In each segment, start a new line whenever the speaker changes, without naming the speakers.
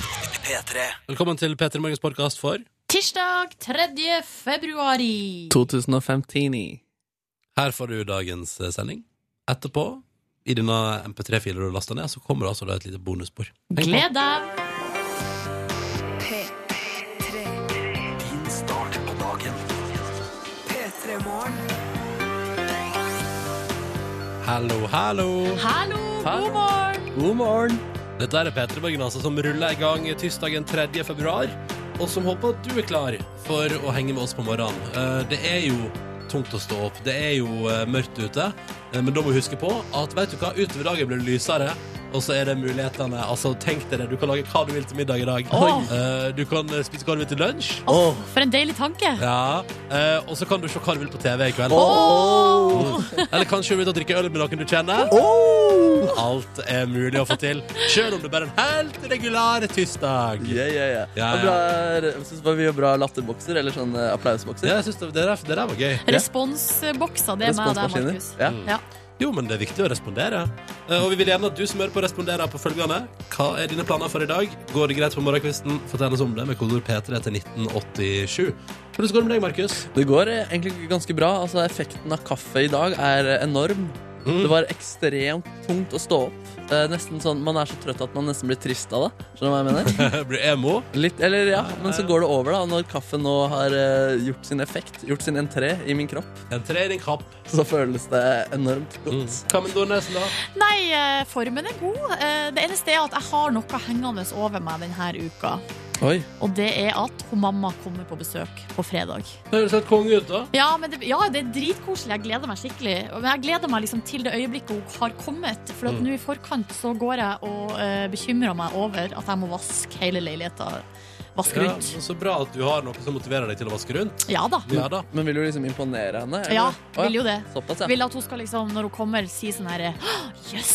P3.
Velkommen til P3 Morgens podkast for
Tirsdag 3. februari.
2015.
Her får du dagens eh, sending. Etterpå, i denne MP3-filen du lasta ned, så kommer det altså da et lite bonusspor. Tenk på.
Gled deg.
Din start på dagen.
Hallo, hallo!
Hallo, god morgen.
God morgen!
Dette er P3 Morgen, altså, som ruller i gang tirsdagen 3. februar, og som håper at du er klar for å henge med oss på morgenen. Eh, Det er jo tungt å stå opp, det er jo eh, mørkt ute, eh, men da må du huske på at vet du hva, utover dagen blir det lysere. Og så er det mulighetene. Altså, tenk deg det. Du kan lage hva du vil til middag i dag.
Åh.
Eh, Du kan eh, spise hva du vil til lunsj.
Åh,
For en deilig tanke.
Ja, eh, og så kan du se hva du vil på TV i kveld. Eller kanskje du vil ut og drikke øl med noen du kjenner. Alt er mulig å få til, selv om det bare er en helt regulær tirsdag.
Ja, ja, ja.
Ja,
Det var Bra, jeg synes det var mye bra latterbokser, eller sånn eh, applausbokser.
Ja, jeg synes det, det, der, det der var gøy.
Responsbokser, det er meg og deg,
Responsmaskiner.
Markus.
Ja.
Ja.
Jo, men det er viktig å respondere. Eh, Og vi vil gjerne at du som hører på, responderer på følgende. Hva er dine planer for i dag? Går det greit på morgenkvisten? Fortell oss om det med kodord P3 til 1987. Hvordan går det med deg, Markus?
Det går eh, egentlig ganske bra. Altså, effekten av kaffe i dag er eh, enorm.
Mm.
Det var ekstremt tungt å stå opp. Eh, nesten sånn, Man er så trøtt at man nesten blir trist av det. Skjønner du hva jeg mener?
Blir emo?
Litt, eller ja, men så går det over da Når kaffen nå har eh, gjort sin effekt Gjort sin entré i min kropp
En trening kapp.
Så føles det enormt
Mm.
godt
Hva med Nordnesen, da?
Nei, eh, formen er god. Eh, Det eneste er at jeg har noe hengende over meg denne uka.
Mm.
Oi,
Og det er at hun mamma kommer på besøk på fredag.
Høres helt konge ut, da.
Ja, men det, ja, det er dritkoselig. Jeg gleder meg skikkelig. Men jeg gleder meg liksom til det øyeblikket hun har kommet. For at
Mm.
nå i forkant så går jeg og eh, bekymrer meg over at jeg må vaske hele leiligheten. Vaske
Ja,
rundt.
men så bra at du har noe som motiverer deg til å vaske rundt.
Ja da.
Ja da.
men vil du liksom imponere henne? eller?
Ja,
Å,
vil jo det.
Såpass, ja
Vil at hun skal liksom, når hun kommer, si sånn her «Åh, Jøss!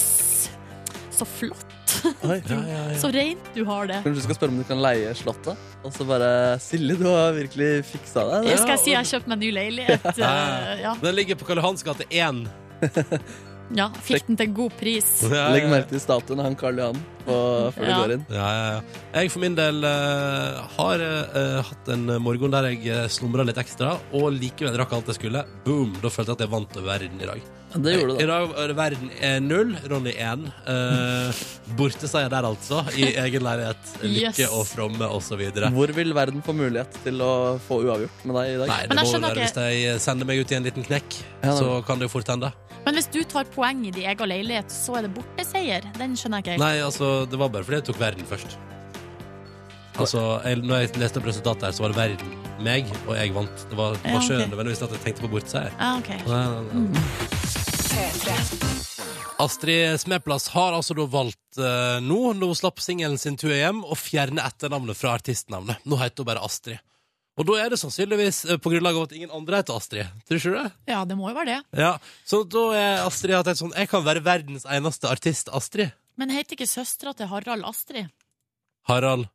Så flott!
Oi.
Ja, ja, ja.
Så rent du har det.
Kanskje du skal spørre om du kan leie slottet Og så bare, Silje, du har virkelig fiksa deg
Jeg skal si jeg har kjøpt meg ny leilighet. eh, Ja.
Den ligger på Karl Johans gate 1.
ja, Fikk den til god pris.
Ja, ja,
Legg
ja.
merke til statuen av han Karl Johan på- Før du
Ja.
går inn
Ja, ja, ja. Jeg for min del eh, har eh, hatt en morgen der jeg slumra litt ekstra, og likevel rakk alt jeg skulle. Boom! Da følte jeg at jeg vant over verden i dag.
ja, Det gjorde
I
du da
dag er verden er null, Ronny én. Uh, Borteseier der, altså. I egen leilighet. Lykke
Yes.
og fromme, og så videre.
Hvor vil verden få mulighet til å få uavgjort med deg i dag?
Nei, det
Men jeg
må jo
skjønner
være hvis de sender meg ut i en liten knekk,
Ja,
så kan det jo fort hende.
Men hvis du tar poeng i din egen leilighet, så er det borteseier. Den skjønner jeg ikke.
Nei, altså, det var bare fordi jeg tok verden først. Altså, jeg, når jeg leste opp resultatet her, så var det verden, meg, og jeg vant. Det var, det
Ja,
var
ok.
skjønn, nødvendigvis at jeg tenkte på bortseier.
Ah, ok.
Nei, nei, nei. Astrid Smeplass har altså da valgt eh, nå, når hun slapp singelen sin Two AM, å fjerne etternavnet fra artistnavnet. Nå heter hun bare Astrid. Og da er det sannsynligvis eh, på grunnlag av at ingen andre heter Astrid. Tror ikke du det?
Ja, det må jo være det.
Ja, Så da er Astrid hatt et sånn Jeg kan være verdens eneste artist, Astrid.
Men heter ikke søstera til Harald Astrid
Harald.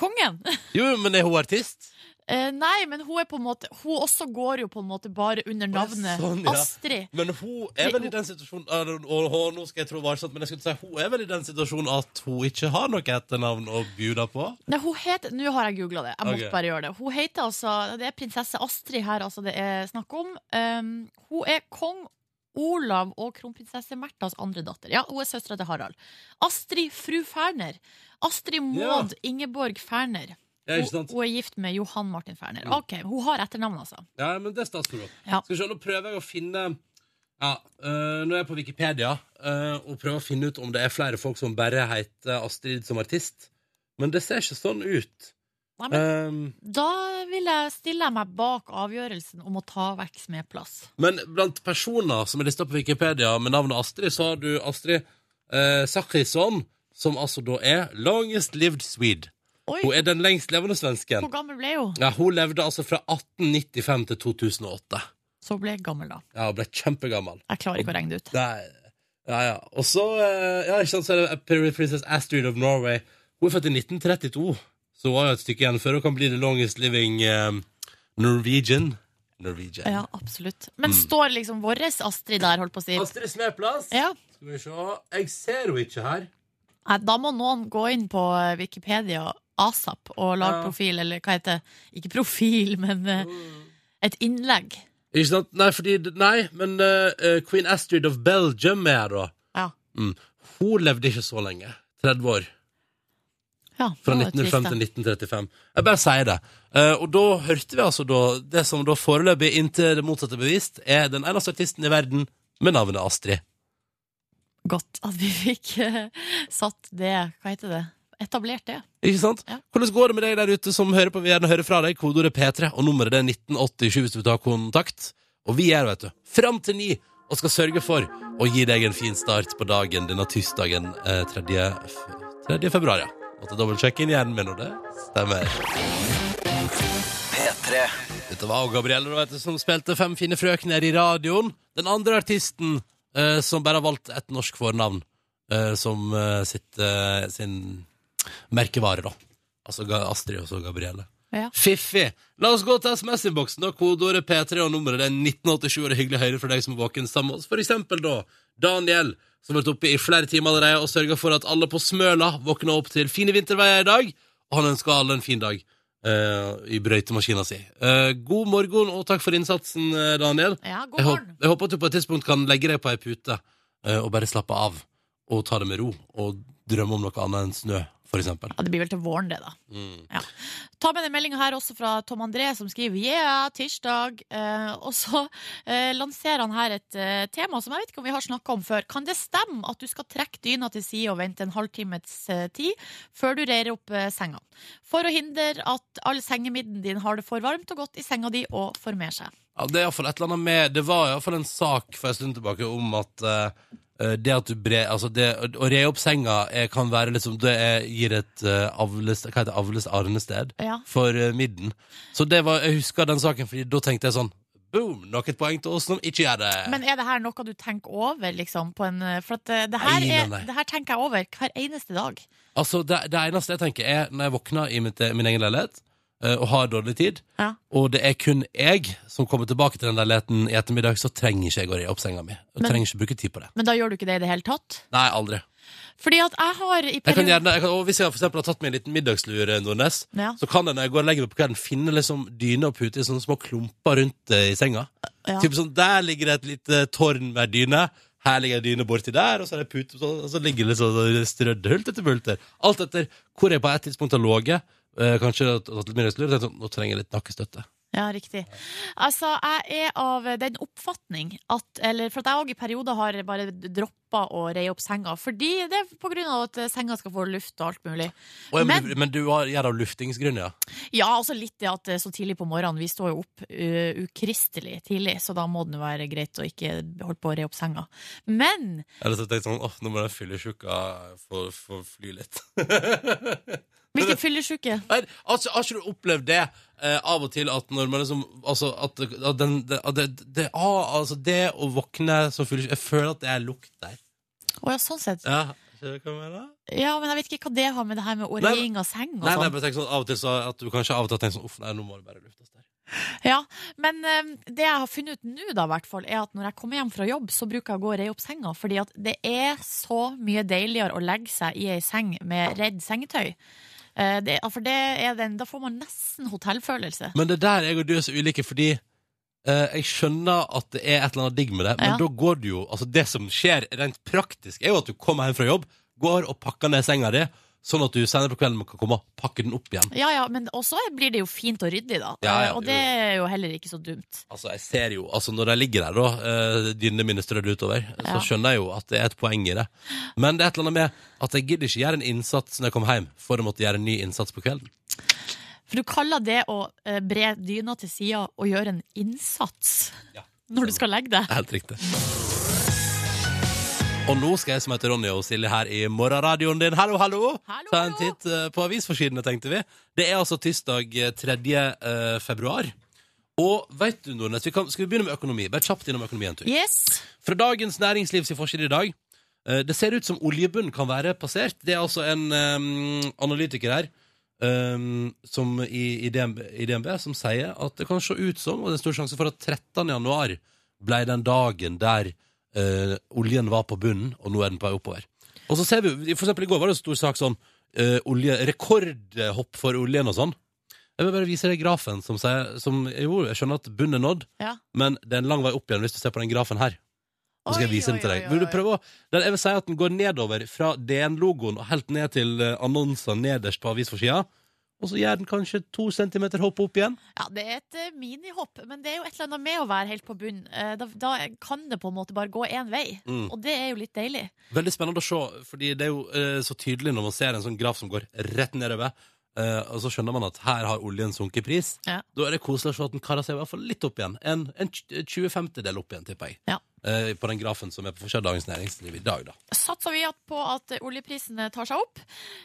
Kongen?
Jo, jo, men er hun artist?
Eh, nei, men hun er på en måte Hun også går jo på en måte bare under navnet
sånn, ja.
Astrid.
Men hun er vel i den situasjonen eller, og, og, Nå skal jeg tro varsomt, men jeg skulle si hun er vel i den situasjonen at hun ikke har noe etternavn å bjuda på?
Nei, hun heter Nå har jeg googla det. Jeg måtte
Ok.
bare gjøre det. Hun heter altså Det er prinsesse Astrid her altså det er snakk om. Um, hun er kong Olav og kronprinsesse Märthas andre datter. Ja, hun er søstera til Harald. Astrid fru Ferner. Astrid Maud Ingeborg Ferner.
Ja, ikke
Hun,
sant?
hun er gift med Johan Martin Ferner.
Mm.
Ok, Hun har etternavn, altså.
Ja, men det er statsråd.
Ja.
Skal vi se, nå prøver jeg å finne ja, øh, Nå er jeg på Wikipedia øh, og prøver å finne ut om det er flere folk som bare heter Astrid som artist. Men det ser ikke sånn ut.
Nei, men,
Um,
da vil jeg stille meg bak avgjørelsen om å ta vekk Smeplass.
Men blant personer som er lista på Wikipedia med navnet Astrid, så har du Astrid eh, Sakrisson, som altså da er longest lived Swede.
Oi,
Hun er den lengst levende
hvor
svensken.
gammel ble hun?
Ja, hun levde altså fra 1895 til 2008.
Så hun ble gammel, da.
Ja, hun ble kjempegammel.
Jeg klarer ikke å regne det ut.
Nei, ja, ja. Og så eh, ja, ikke sant, så er det Princess Astrid of Norway. Hun er født i 1932, så hun har jo et stykke igjen før hun kan bli the longest living eh, Norwegian. Norwegian.
Ja, absolutt. Men
Mm.
står liksom vår Astrid der, holdt på å si?
Astrid Smeplass.
Ja.
Skal vi se. Jeg ser henne ikke her.
Nei, da må noen gå inn på eh, Wikipedia asap og lage
Ja.
profil, eller hva heter det? Ikke profil, men eh,
Mm.
et innlegg.
Ikke sant? Nei, fordi, nei men eh, eh, Queen Astrid of Belgium er her, da.
Ja.
Mm. Hun levde ikke så lenge. 30 år.
Ja,
Fra
det var jo
1905
trist,
til
da.
1935. Jeg bare sier det. Eh, og da hørte vi altså da Det som da foreløpig, inntil det motsatte er bevist, er den eneste artisten i verden med navnet Astrid.
Godt at vi fikk eh, satt det, hva heter det, etablert det.
Ikke sant?
Ja.
Hvordan går det med deg der ute som hører på? Vi vil gjerne høre fra deg. Kodeordet P3, og nummeret det er 1987 hvis du vil ta kontakt. Og vi er, vet du, fram til ni og skal sørge for å gi deg en fin start på dagen denne tirsdagen eh, 3. f- 3. februar, ja. Måtte dobbeltsjekke inn hjernen min, og det stemmer.
P3
Dette var Gabrielle da, vet du, som spilte Fem fine frøkner i radioen. Den andre artisten eh, som bare har valgt et norsk fornavn eh, som eh, sitt, eh, sin merkevare, da. Altså Ga- Astrid og så Gabrielle.
Ja.
Fiffi! La oss gå til SMS-innboksen. da, Kodeordet P3 og nummeret det er 1987. Og det er hyggelig å høre fra deg som er våken sammen med oss. For eksempel da Daniel, som har vært oppe i flere timer allerede og sørga for at alle på Smøla våkna opp til fine vinterveier i dag. Og han ønsker alle en fin dag eh, i brøytemaskina si. Eh, god morgen og takk for innsatsen, eh, Daniel.
Ja, god
Jeg, håp,
morgen.
jeg håper at du på et tidspunkt kan legge deg på ei pute eh, og bare slappe av og ta det med ro og drømme om noe annet enn snø, for eksempel.
Ja, det blir vel til våren, det, da.
Mm.
Ta med den meldinga her også fra Tom André, som skriver 'yeah, tirsdag'. Eh, og så eh, lanserer han her et eh, tema som jeg vet ikke om vi har snakka om før. Kan det stemme at du skal trekke dyna til side og vente en halvtimes eh, tid før du reier opp eh, senga? For å hindre at all sengemidden din har det for varmt og godt i senga di og formerer seg.
Ja, det, er i hvert fall et eller annet med, det var iallfall en sak for en stund tilbake om at eh, det at du bre, altså det, å- å re opp senga eh, kan være liksom Det er, gir et eh, avles, hva heter det, avles arnested
Ja.
for eh, midden. Så det var, jeg husker den saken, Fordi da tenkte jeg sånn Boom! Nok et poeng til oss som ikke gjør det.
Men er det her noe du tenker over, liksom? På en, eh, for at eh, det her,
Nei, nei, nei.
er, det her tenker jeg over hver eneste dag.
Altså, det, det eneste jeg tenker, er når jeg våkner i mitt, min egen leilighet eh, og har dårlig tid,
Ja.
og det er kun jeg som kommer tilbake til den leiligheten i ettermiddag, så trenger ikke jeg å re opp senga mi. Jeg
Men-
trenger ikke bruke tid på det.
Men da gjør du ikke det i det hele tatt?
Nei, aldri.
Fordi at jeg har i
Jeg kan
perioden
gjerne, jeg kan, og hvis jeg for eksempel har tatt meg en liten middagslur, eh, Nordnes,
Ja.
så kan jeg når jeg går og legger meg på kvelden, finne liksom dyne og pute i sånne små klumper rundt eh, i senga.
Ja.
Typ sånn, der ligger det et lite tårn med dyne, her ligger det dyne borti der, og så er det pute, så, og så ligger det sånn strødde hult etter bulter. Alt etter hvor jeg på et tidspunkt har låget, eh, kanskje har tatt litt middagslur, og tenkt sånn, nå trenger jeg litt nakkestøtte.
Ja, riktig. Altså, jeg er av den oppfatning at Eller for at jeg òg i perioder har bare droppa å reie opp senga. Fordi det er på grunn av at senga skal få luft og alt mulig.
Å, ja, men,
Men-
du- men du har, gjør det av luftingsgrunn, ja.
Ja, altså litt det at det er så tidlig på morgenen. Vi står jo opp eh, ukristelig tidlig, så da må det jo være greit å ikke holde på å re opp senga. Men
Eller så tenkte jeg sånn, åh, nå må den fyllesjukka få, få fly litt.
hvilken fyllesyke?
Nei, altså, har ikke du opplevd det eh, av og til at når man liksom Altså, at, at den det, at det, det, ah, altså, det å våkne som fyller Jeg føler at det er lukt der.
Å ja, sånn sett.
Ja, skjønner du hva jeg mener?
Ja, men jeg vet ikke hva det har med det her med å
Nei,
reie av seng og
Nei, nei,
sånn.
bare tenk sånn av og til så at du kanskje av og til tenker sånn Uff, nei, nå må det bare luftes der.
Ja, men eh, det jeg har funnet ut nå, da, i hvert fall, er at når jeg kommer hjem fra jobb, så bruker jeg å gå og reie opp senga. Fordi at det er så mye deiligere å legge seg i ei seng med redd sengetøy. Eh, det, for det er den, da får man nesten hotellfølelse.
Men det er der jeg og du er så ulike, fordi eh, jeg skjønner at det er et eller annet digg med det, men
Ja.
da går du jo Altså, det som skjer rent praktisk, er jo at du kommer hjem fra jobb, går og pakker ned senga di, sånn at du senere på kvelden kan komme og pakke den opp igjen.
Ja, ja, men også blir det jo fint og ryddig, da.
Ja, ja,
Eh, og
jo,
det
jo.
er jo heller ikke så dumt.
Altså, jeg ser jo, altså Når jeg ligger der, da, eh, dynene mine strødd utover,
Ja.
så skjønner jeg jo at det er et poeng i det. Men det er et eller annet med at jeg gidder ikke gjøre en innsats når jeg kommer hjem, for å måtte gjøre en ny innsats på kvelden.
For du kaller det å eh, bre dyna til sida og gjøre en innsats
Ja.
når du skal legge deg.
Det er helt riktig. Og nå skal jeg som heter Ronny og Silje her i morgenradioen din. Hallo, hallo!
Hallo,
Ta en
hallo!
titt eh, på avisforsidene, tenkte vi. Det er altså tirsdag eh, 3. eh, februar. Og vet du, Nordnes, vi kan, skal vi begynne med økonomi? Bare kjapt innom økonomi en tur.
Yes!
Fra Dagens Næringslivs forside i dag. eh, Det ser ut som oljebunnen kan være passert. Det er altså en eh, analytiker her eh, som i, i, DNB, i DNB som sier at det kan se ut som, og det er stor sjanse for at 13. januar ble den dagen der eh, oljen var på bunnen, og nå er den på vei oppover. Og så ser vi, for eksempel i går var det en stor sak sånn eh, olje, Rekordhopp for oljen og sånn. Jeg vil bare vise deg grafen som sier som, Jo, jeg skjønner at bunnen er nådd,
Ja.
men det er en lang vei opp igjen hvis du ser på den grafen her. Nå skal jeg
Oi,
vise den til
oi,
deg.
oi,
Vil du
oi.
prøve å den- Jeg vil si at den går nedover fra DN-logoen og helt ned til eh, annonser nederst på avisforsida. Og så gjør den kanskje to centimeter hopp opp igjen.
Ja, det er et eh, minihopp, men det er jo et eller annet med å være helt på bunnen. Eh, Da, da kan det på en måte bare gå én vei,
Mm.
og det er jo litt deilig.
Veldig spennende å se, fordi det er jo eh, så tydelig når man ser en sånn graf som går rett nedover, eh, og så skjønner man at her har oljen sunket i pris.
Ja.
Da er det koselig å se at den karer seg i hvert fall litt opp igjen. En, en 20-50-del opp igjen, tipper jeg.
Ja.
Eh, på den grafen som er på forsiden av Dagens Næringsliv i dag, da.
satser vi at- på at eh, oljeprisene tar seg opp.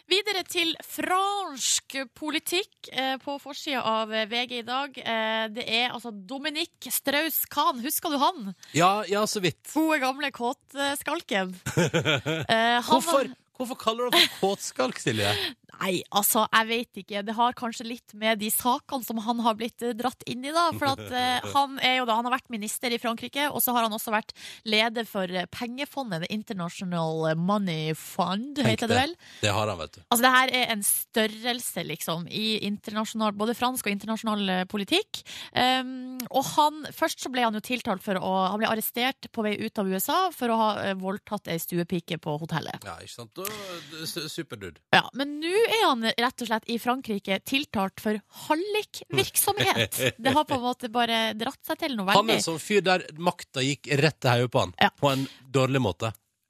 Videre til fransk politikk eh, på forsida av eh, VG i dag. Eh, det er altså Dominique Strauss-Kahn, husker du han?
Ja, ja, så vidt.
Gode, gamle kåtskalken. Eh, han-
Hvorfor, hvorfor kaller du det for kåtskalk, Silje?
Nei, altså, jeg vet ikke. Det har kanskje litt med de sakene som han har blitt eh, dratt inn i, da. For at eh, han er jo da Han har vært minister i Frankrike, og så har han også vært leder for eh, pengefondet, The International Money Fund,
Tenk
heter det vel?
Det har han, vet du.
Altså, det her er en størrelse, liksom, i internasjonal, både fransk og internasjonal eh, politikk. Um, og han, først så ble han jo tiltalt for å Han ble arrestert på vei ut av USA for å ha eh, voldtatt ei stuepike på hotellet.
Ja, ikke sant? Da- s- Superdude.
Ja, Men nå er han rett og slett i Frankrike tiltalt for hallikvirksomhet. Det har på en måte bare dratt seg til noe
Han er
veldig.
en sånn fyr der makta gikk rett til hodet på han.
Ja.
På en dårlig måte.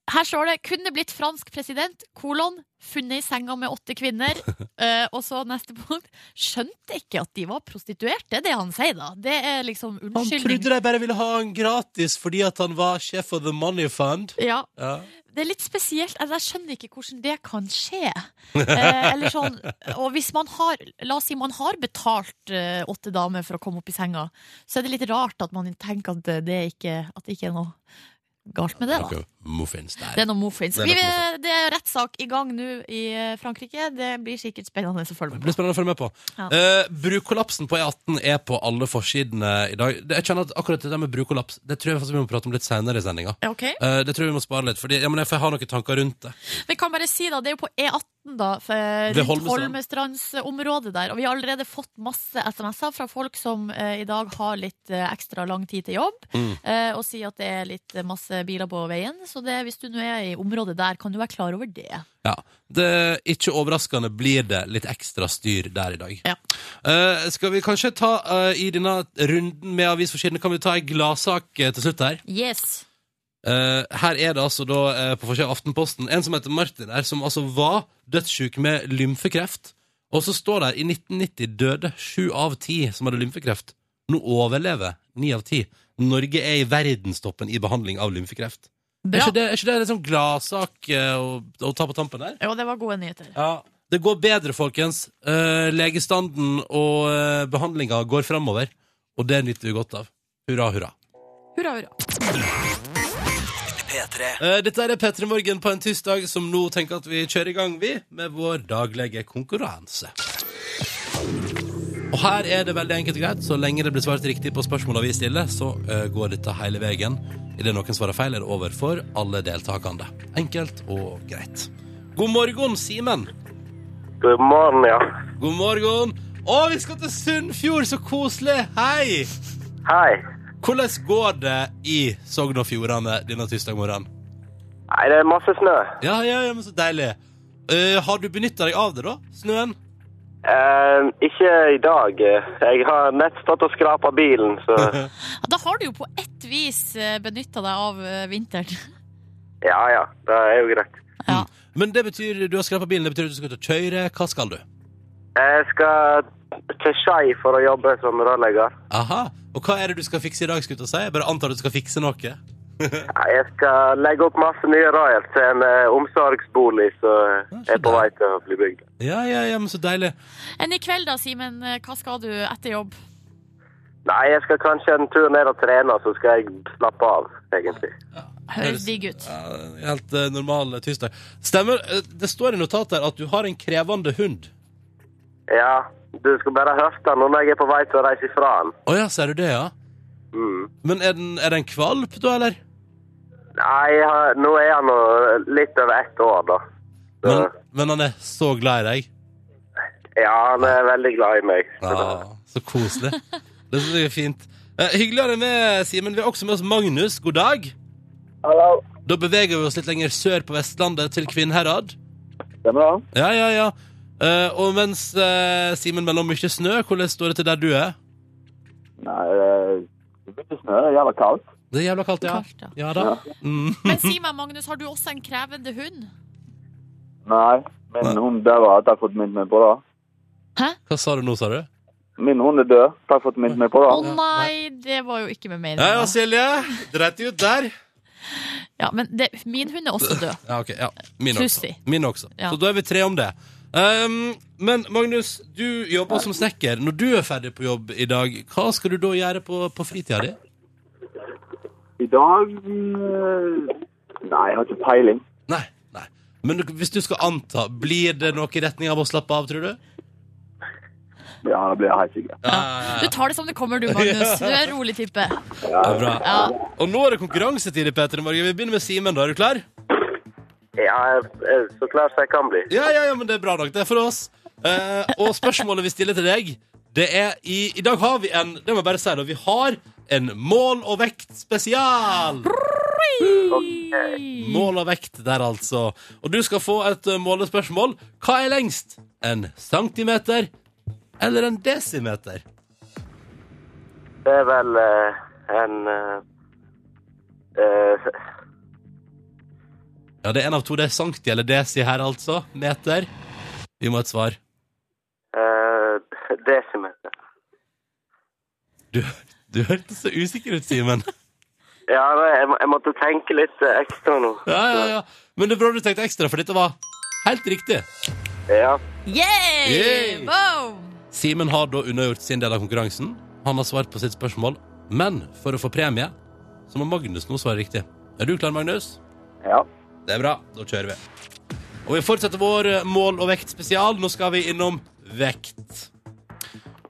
Her står det 'kunne blitt fransk president', kolon, funnet i senga med åtte kvinner. Eh, og så neste punkt. Skjønte ikke at de var prostituerte, det er det han sier, da. Det er liksom
Han
unnskyldning.
trodde de bare ville ha han gratis fordi at han var sjef for The Money Fund.
Ja,
Ja.
det er litt spesielt. Altså, jeg skjønner ikke hvordan det kan skje. Eh, eller sånn, og hvis man har La oss si man har betalt eh, åtte damer for å komme opp i senga, så er det litt rart at man tenker at det ikke, at det ikke er noe galt med det, da.
Noe muffins
Det
der.
er noen muffins.
Det er
Vi,
nok
det er rettssak i gang nå i eh, Frankrike. Det blir sikkert spennende å
Det
følge med
blir
på.
spennende å følge med på.
Ja.
Eh, brukollapsen på E18 er på alle forsidene i dag. Det- Jeg kjenner at akkurat det der med brukollaps Det tror jeg faktisk vi må prate om litt senere i sendinga.
Ja, ok.
Eh, det tror jeg vi må spare litt, Fordi, ja, men jeg får ha noen tanker rundt det.
Vi kan bare si da, det er jo på E18 da, for-
Ved
rundt
Holmestrand.
Holmestrandsområdet der, og vi har allerede fått masse SMS-er fra folk som eh, i dag har litt eh, ekstra lang tid til jobb,
Mm.
eh, og sier at det er litt eh, masse biler på veien, så det, hvis du nå er i området der, kan du være klar over det.
Ja. Det, ikke overraskende blir det litt ekstra styr der i dag.
Ja.
Eh, skal vi kanskje ta eh, i denne runden med avisforsidene Kan vi ta ei gladsak eh, til slutt her?
Yes!
Eh, her er det altså da eh, på forsiden av Aftenposten en som heter Martin her, som altså var dødssyk med lymfekreft. Og så står der i 1990 døde sju av ti som hadde lymfekreft. Nå overlever ni av ti. Norge er i verdenstoppen i behandling av lymfekreft. Er
Bra!
ikke det, er ikke det en sånn gladsak eh, å, å ta på tampen der?
Jo, det var gode nyheter.
Ja. Det går bedre, folkens. Eh, legestanden og eh, behandlinga går framover. Og det nyter vi godt av. Hurra, hurra.
Hurra, hurra.
P3
Eh, Dette er P3 Morgen på en tirsdag som nå tenker at vi kjører i gang, vi, med vår daglige konkurranse. Og her er det veldig enkelt og greit. Så lenge det blir svart riktig på spørsmåla vi stiller, så eh, går dette hele veien. Idet noen svarer feil, er det over for alle deltakende. Enkelt og greit. God morgen, Simen.
God morgen, ja.
God morgen. Å, vi skal til Sunnfjord! Så koselig! Hei!
Hei.
Hvordan går det i Sogn og Fjordane denne tirsdag morgenen?
Nei, det er masse snø.
Ja, ja, ja, men så deilig. Eh, har du benytta deg av det, da? Snøen?
Eh, ikke i dag. Jeg har nett stått og skrapa bilen, så
Ja, Da har du jo på ett vis benytta deg av eh, vinteren.
Ja ja, det er jo greit.
Ja.
Men det betyr du har skrapa bilen, det betyr at du skal ut og kjøre. Hva skal du?
Jeg skal til Skei for å jobbe som rørlegger.
Aha. Og hva er det du skal fikse i dag? skulle jeg til å si? Jeg bare antar at du skal fikse noe.
Nei, Jeg skal legge opp masse nye rør til en eh, omsorgsbolig som
så
er på
der.
vei til å bli bygd.
Ja, ja, ja, men så deilig.
Enn i kveld da, Simen, eh, hva skal du etter jobb?
Nei, jeg skal kanskje en tur ned og trene, så skal jeg slappe av, egentlig.
Høres digg ut.
Ja, helt eh, normal eh, tirsdag. Stemmer. eh, Det står i notatet her at du har en krevende hund.
Ja, du skal bare høfte nå når jeg er på vei til å reise ifra den.
Å ja, ser du det, ja?
Mm.
Men er den, er det en kvalp, da, eller?
Nei, jeg har- nå er han nå litt over ett år, da. Så,
Men, men han er så glad i deg.
ja, han er veldig glad i meg. Så da-
Ja, så koselig. Det synes jeg er fint. Eh, hyggelig å ha deg med, Simen. Vi har også med oss Magnus. God dag.
Hallo.
Da beveger vi oss litt lenger sør på Vestlandet, til Kvinnherad.
Stemmer det?
Ja, ja, ja. Eh, og mens eh, Simen melder om mye snø, hvordan står det til der du er?
Nei, det begynte å snø. Det er jævla kaldt.
Det er jævla kaldt, ja.
Kaldt, ja.
Ja da. Mm.
Men si meg, Magnus, har du også en krevende hund?
Nei, min
Nei.
hund døde. Takk for at du minnet meg på det.
Hva sa du nå, sa du?
Min hund er død. Takk for at du minnet meg på
Å
det.
nei, det var jo ikke med meningen.
Ja, ja,
da.
Silje. Dreit ut der.
Ja, men det, min hund er også død.
Ja, ok. Ja. Min også.
Trussi.
Min også.
Ja.
Så da er vi tre om det. Um, men Magnus, du jobber som snekker. Når du er ferdig på jobb i dag, hva skal du da gjøre på, på fritida di?
I dag eh, Nei, jeg har ikke peiling.
Nei, nei. Men hvis du skal anta, blir det noe i retning av å slappe av, tror du?
Ja, det blir helt sikkert.
Ja,
Du tar det som det kommer, du, Magnus. Du er en rolig type.
det er bra.
Ja.
Og nå er det konkurransetid i P3 Morgen. Vi begynner med Simen, da. Er du klar?
Ja, jeg- jeg- så klar som jeg kan bli.
Ja, ja, ja, men det er bra nok. Det er for oss. Eh, og spørsmålet vi stiller til deg, det er i I dag har vi en Det må jeg bare si, da. Vi har en mål og vekt spesial. Mål og vekt der, altså. Og du skal få et eh, målespørsmål. Hva er lengst? En centimeter eller en desimeter?
Det er vel eh, en eh, eh,
Ja, det er en av to. Det er sankti eller desi her, altså. Meter. Vi må ha et svar.
eh, Desimeter.
Du, du hørtes så usikker ut, Simen.
Ja, nei, jeg, må- jeg måtte tenke litt eh, ekstra nå.
Ja, ja, ja. Men det er bra du tenkte ekstra, for dette var helt riktig.
Ja.
Yay!
Yay!
Boom!
Simen har da unnagjort sin del av konkurransen. Han har svart på sitt spørsmål, men for å få premie så må Magnus nå svare riktig. Er du klar, Magnus?
Ja.
Det er bra. Da kjører vi. Og vi fortsetter vår eh, mål- og vektspesial. Nå skal vi innom vekt.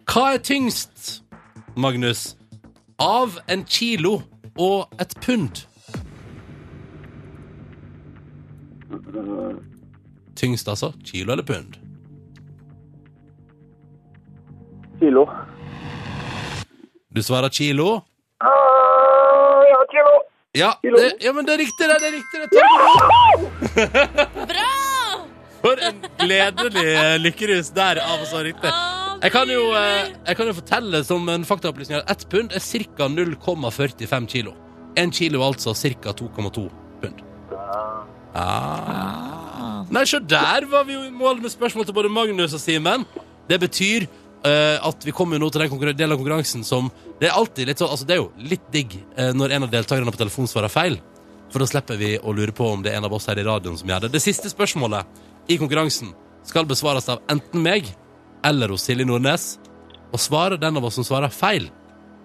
Hva er tyngst, Magnus, av en kilo og et pund? Tyngst, altså. Kilo eller pund?
Kilo.
Du svarer kilo.
Ah, Ja, kilo.
Ja, det, ja men det er riktig, det. det er riktig det.
Bra!
For en gledelig lykkerus der av å svare riktig.
Ah,
Jeg kan, jo, eh,
nydelig.
jeg kan jo fortelle som en faktaopplysning at ett pund er ca. 0,45 kilo. Én kilo altså ca. 2,2 pund. Ah.
Ah.
Nei, så der var vi jo i mål med spørsmål til både Magnus og Simen. Det betyr eh, at vi kommer jo nå til den konkurren- delen av konkurransen som Det er alltid litt sånn, altså det er jo litt digg eh, når en av deltakerne på telefon svarer feil. For da slipper vi å lure på om det er en av oss her i radioen som gjør det. Det siste spørsmålet i konkurransen skal besvares av enten meg eller hos Silje Nordnes. Og svarer den av oss som svarer feil,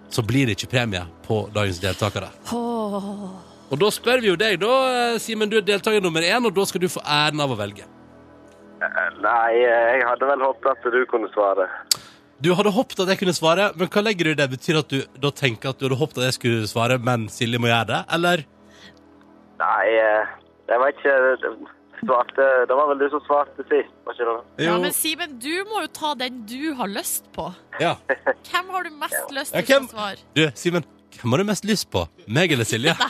så blir det ikke premie på dagens deltakere.
Åh.
Og da spør vi jo deg, da, eh, Simen. Du er deltaker nummer én, og da skal du få æren av å velge.
Nei, eh, jeg hadde vel håpet at du kunne svare.
Du hadde håpet at jeg kunne svare, men hva legger du i det? Betyr det at du da tenker at du hadde håpet at jeg skulle svare, men Silje må gjøre det? Eller?
Nei, eh, jeg var ikke eh, svarte, Det var vel du som svarte sist, var ikke det?
Ja, men Simen, du må jo ta den du har lyst på.
Ja.
Hvem har du mest lyst
Ja,
til som
hvem-
svar?
Du, Simen, hvem har du mest lyst på? Meg eller Silje?
Nei,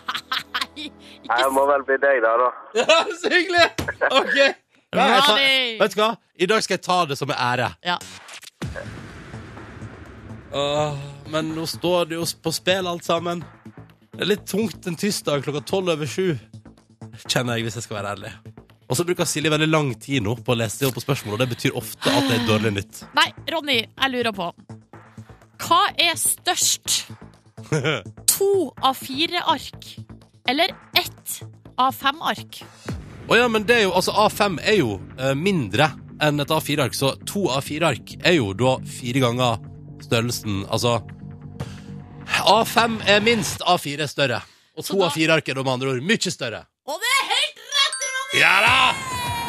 Nei,
ikke
det må vel bli deg, da. da.
Ja, så hyggelig! OK. Ja, jeg tar,
Ronny!
vet du hva? I dag skal jeg ta det som en ære.
Ja.
Åh, men nå står det jo på spill, alt sammen. Det er litt tungt en tirsdag klokka tolv over sju. Kjenner jeg, hvis jeg skal være ærlig. Og så bruker Silje veldig lang tid nå på å lese seg opp på spørsmål, og det betyr ofte at det er dårlig nytt.
Nei, Ronny, jeg lurer på. Hva er størst? To av fire ark? Eller ett av fem ark?
Å ja, men det er jo, altså A5 er jo eh, mindre enn et A4-ark, så to A4-ark er jo da fire ganger størrelsen, altså A5 er minst, A4 er større. Og
Så
to
da-
A4-ark er da med andre ord mye større.
Og det er helt rett, Ronny!
Ja da!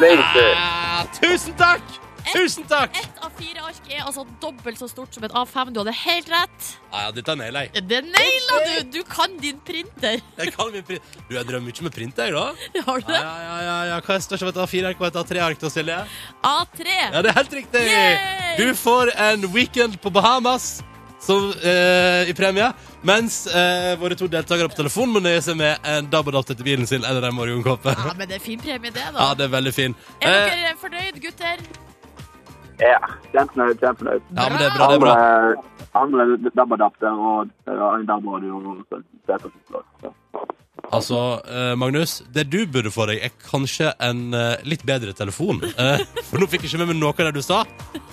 Flink du.
Ah, tusen takk! Tusen takk!
Ett av fire ark er altså dobbelt så stort som et A5. Du hadde helt rett.
Ah, Ja, ja, dette er naila jeg.
Det naila du! Du kan din printer.
Jeg kan min print. Du, jeg drømmer ikke med print, jeg, da.
Har
Ja,
du det?
ja, ja, ja, ja. Hva er størst av et A4-ark og et A3-ark, da, Silje? Ja,
A3.
det er helt riktig!
Yay!
Du får en weekend på Bahamas som, eh, i premie, mens eh, våre to deltakere på telefonen må nøye seg med en dabbedatter til bilen sin eller en morgenkåpe.
Ja, men det er fin premie, det,
Ja,
da.
det er veldig fin.
Er
Eh,
dere fornøyd, gutter?
Ja, kjempenøyd, kjempenøyd.
ja, men det er bra, det er bra.
Andre, andre DAB-adapter og og en DAB-radio og sånn. Det er faktisk flott, så.
Altså, eh, Magnus, det du burde få deg, er kanskje en eh, litt bedre telefon. Eh, for nå fikk jeg ikke med meg noe av det du sa.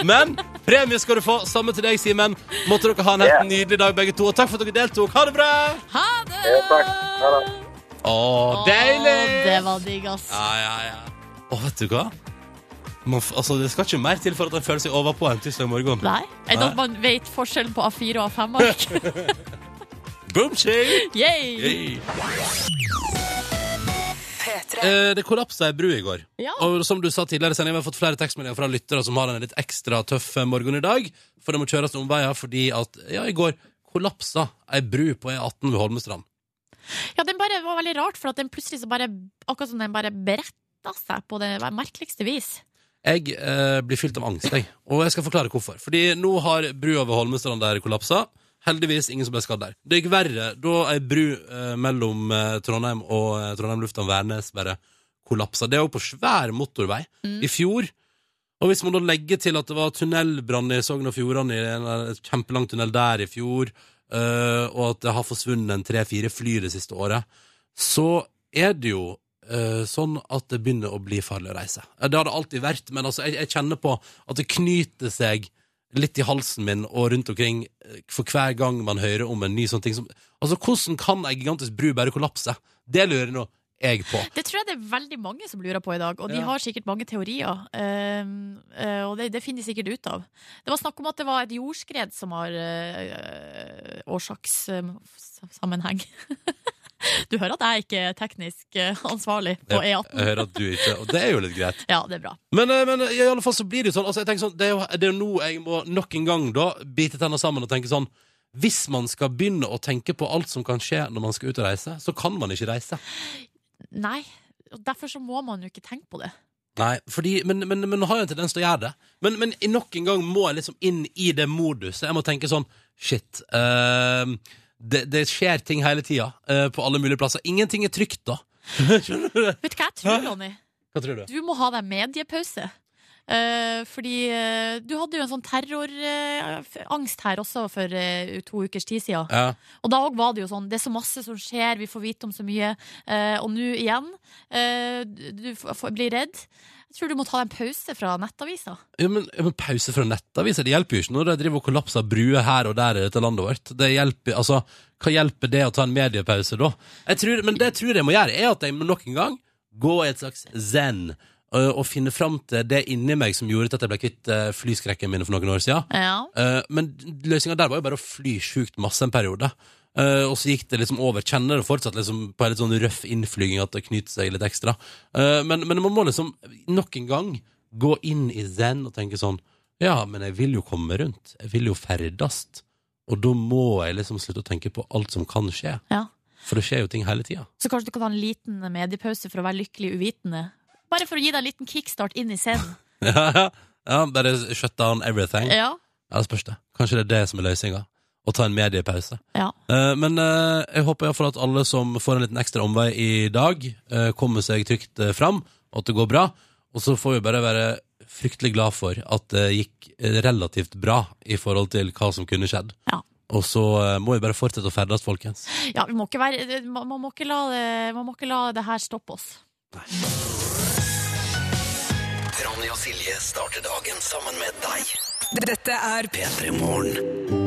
Men premie skal du få. Samme til deg, Simen. Måtte dere ha en helt nydelig dag, begge to. Og takk for at dere deltok. Ha det bra!
Ha det!
Ja, takk. Ha det.
Å,
Å,
deilig!
Det var digg, ass.
Ja, ja, ja. Og vet du hva? Man, f- altså, det skal ikke mer til for at han føler seg overpå en tirsdag morgen.
Nei, enn at man vet forskjellen på A4 og A5-ark.
Boom, shake!
Yay!
Yay. Eh, det kollapsa ei bru i går.
Ja.
Og som du sa tidligere, Senja, vi har fått flere tekstmeldinger fra lyttere som har en litt ekstra tøff eh, morgen i dag. For det må kjøres omveier fordi at ja, i går kollapsa ei bru på E18 ved Holmestrand.
Ja, den bare var veldig rart, for at den plutselig så bare Akkurat som den bare beretta seg på det merkeligste vis.
Jeg eh, blir fylt av angst, jeg. Og jeg skal forklare hvorfor. Fordi nå har brua ved Holmestrand der kollapsa. Heldigvis ingen som ble skadd der. Det gikk verre da ei bru eh, mellom eh, Trondheim og eh, Trondheim lufthavn Værnes bare kollapsa. Det er jo på svær motorvei. I fjor Og hvis man da legger til at det var tunnelbrann i Sogn og Fjordane, i en eh, kjempelang tunnel der i fjor, eh, og at det har forsvunnet en tre-fire fly det siste året, så er det jo eh, sånn at det begynner å bli farlig å reise. Eh, Det har det alltid vært, men altså, jeg, jeg kjenner på at det knyter seg litt i halsen min og rundt omkring eh, for hver gang man hører om en ny sånn ting som Altså, hvordan kan ei gigantisk bru bare kollapse? Det lurer nå jeg på.
Det tror jeg det er veldig mange som lurer på i dag, og de
Ja.
har sikkert mange teorier. ehm, eh, og det, det finner de sikkert ut av. Det var snakk om at det var et jordskred som har eh, eh, årsakssammenheng. du hører at jeg ikke er teknisk eh, ansvarlig på
Jeg, jeg
E18.
hører at du ikke Og det er jo litt greit.
Ja, det er bra.
Men, eh, men i alle fall så blir det jo sånn, altså, jeg tenker sånn Det er jo, det er jo nå jeg må nok en gang da bite tenna sammen og tenke sånn Hvis man skal begynne å tenke på alt som kan skje når man skal ut og reise, så kan man ikke reise.
Nei, og derfor så må man jo ikke tenke på det.
Nei, fordi, men, men, men man har jo en tendens til å gjøre det. Men, men i nok en gang må jeg liksom inn i det moduset. Jeg må tenke sånn Shit. eh, det, det skjer ting hele tida eh, på alle mulige plasser. Ingenting er trygt, da. Skjønner du det?
Vet du hva jeg tror, Ronny?
Hva tror du?
Du må ha deg mediepause. Eh, fordi eh, du hadde jo en sånn terrorangst eh, her også for eh, to ukers tid siden.
Ja.
Og da òg var det jo sånn, det er så masse som skjer, vi får vite om så mye. Eh, og nå igjen, eh, du f- f- blir redd. Jeg tror du må ta en pause fra nettavisa.
Ja, men, ja, men pause fra nettaviser, det hjelper jo ikke når de driver og kollapser bruer her og der i dette landet vårt. Det hjelper, altså, hva hjelper det å ta en mediepause da? Jeg tror, men det jeg tror jeg må gjøre, er at jeg må nok en gang gå i et slags zen, øh, og finne fram til det inni meg som gjorde at jeg ble kvitt øh, flyskrekken min for noen år siden.
Ja.
Eh, men løsninga der var jo bare å fly sjukt masse en periode. Eh, og så gikk det liksom over. Kjenner det fortsatt liksom på en litt sånn røff innflyging at det knyter seg litt ekstra. Eh, men, men man må liksom nok en gang gå inn i zen og tenke sånn Ja, men jeg vil jo komme rundt. Jeg vil jo ferdes. Og da må jeg liksom slutte å tenke på alt som kan skje.
Ja.
For det skjer jo ting hele tida.
Så kanskje du kan ha en liten mediepause for å være lykkelig uvitende. Bare for å gi deg en liten kickstart inn i scenen.
ja, ja. ja, bare shut down everything.
Ja.
Ja, det spørs det. Kanskje det er det som er løsninga. Å ta en mediepause.
Ja.
Eh, men eh, jeg håper iallfall at alle som får en liten ekstra omvei i dag, eh, kommer seg trygt eh, fram, og at det går bra. Og så får vi bare være fryktelig glad for at det gikk eh, relativt bra i forhold til hva som kunne skjedd.
Ja.
Og så eh, må vi bare fortsette å ferdes, folkens.
ja vi må ikke være, eh, man, man, må ikke la det, man må ikke la det her stoppe oss.
Ronny og Silje starter dagen sammen med deg.
Dette er
P3 Morgen.
Ja,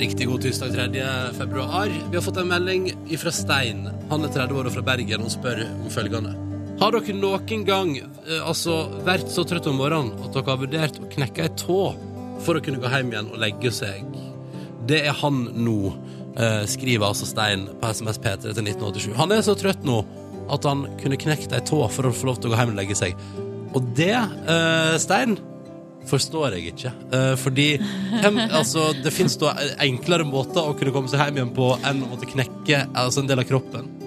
Riktig god tirsdag 3. februar. Vi har fått en melding fra Stein. Han er 30 år og fra Bergen og spør om følgende. Har dere noen gang eh, altså, vært så trøtt om morgenen at dere har vurdert å knekke ei tå for å kunne gå hjem igjen og legge seg? Det er han nå, eh, skriver altså Stein på SMS P3 til 1987. Han er så trøtt nå at han kunne knekt ei tå for å få lov til å gå hjem og legge seg. Og det, eh, Stein, forstår jeg ikke. Eh, fordi hvem, altså, det fins da enklere måter å kunne komme seg hjem igjen på enn å måtte knekke altså, en del av kroppen.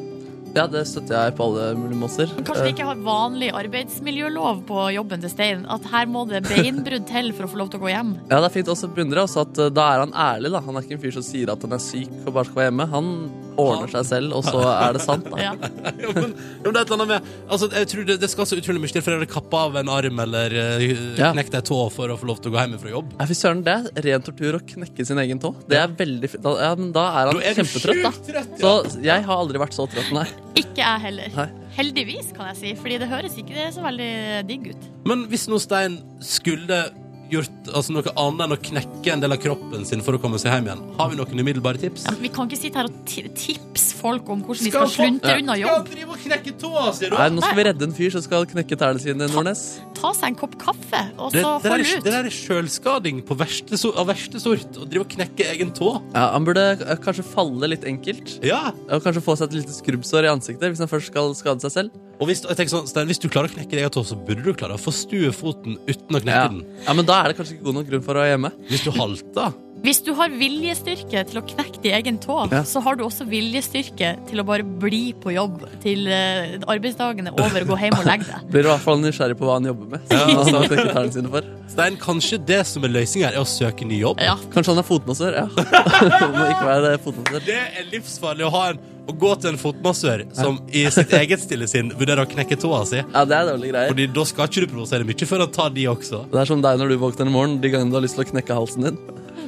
Ja, det støtter jeg på alle mulige måter.
Men Kanskje vi ikke har vanlig arbeidsmiljølov på jobben til Stein? At her må det beinbrudd til for å få lov til å gå hjem?
Ja, det er fint også beundre også at eh, da er han ærlig, da. Han er ikke en fyr som sier at han er syk og bare skal være hjemme. Han ordner seg selv, og så er det sant, da.
Ja.
jo, men, jo, men det er et eller annet med altså, jeg tror det, det skal så utrolig mye til for å kappe av en arm eller uh,
Ja.
knekke ei tå for å få lov til å gå hjem fra jobb.
Nei, fy søren, det er ren tortur å knekke sin egen tå. Det er veldig fint. Da, ja, men da er han
Da er du
kjempetrøtt, da.
sjukt trøtt, ja.
Så jeg har aldri vært så trøtt, nei.
Ikke jeg heller.
Nei.
Heldigvis, kan jeg si, fordi det høres ikke så veldig digg ut.
Men hvis nå Stein skulle gjort altså, noe annet enn å knekke en del av kroppen sin for å komme seg hjem igjen, har vi noen umiddelbare tips?
Ja, vi kan ikke sitte her og ti- tipse folk om hvordan de
Skal
skal
folk-
sluntre unna
Skal
jobb.
han drive og knekke tåa, sier du?
nei. Nå skal vi redde en fyr som skal knekke tærne sine, Nordnes.
Ta seg en kopp kaffe, og
Det,
så
det, der,
hold
er-
ut.
det der er sjølskading på verste, so- av verste sort. Å drive og knekke egen tå.
Ja, han burde eh, kanskje falle litt enkelt.
Ja.
Og kanskje få seg et lite skrubbsår i ansiktet hvis han først skal skade seg selv.
Og hvis, jeg tenker sånn, Stein, hvis du klarer å knekke din egen tå, så burde du klare å forstue foten uten å knekke
Ja.
den.
ja, Men da er det kanskje ikke god nok grunn for å være hjemme.
Hvis du halter.
Hvis du har viljestyrke til å knekke din egen tå,
Ja.
så har du også viljestyrke til å bare bli på jobb til eh, arbeidsdagen er over og gå hjem og legge deg.
Blir i hvert fall nysgjerrig på hva han jobber med. Så
Ja.
hva skal han knekke tærne sine for
Stein, kanskje det som er løsninga, er å søke ny jobb?
Ja.
Kanskje han er fotmassør? Ja. Må ikke være det, fotmassør.
Det er livsfarlig å, ha en, å gå til en fotmassør som i sitt eget stille sinn vurderer å knekke tåa si.
Ja, det er dårlige greier.
Fordi da skal ikke du provosere mye før han tar de også.
Det er som deg når du våkner i morgen de gangene du har lyst til å knekke halsen din.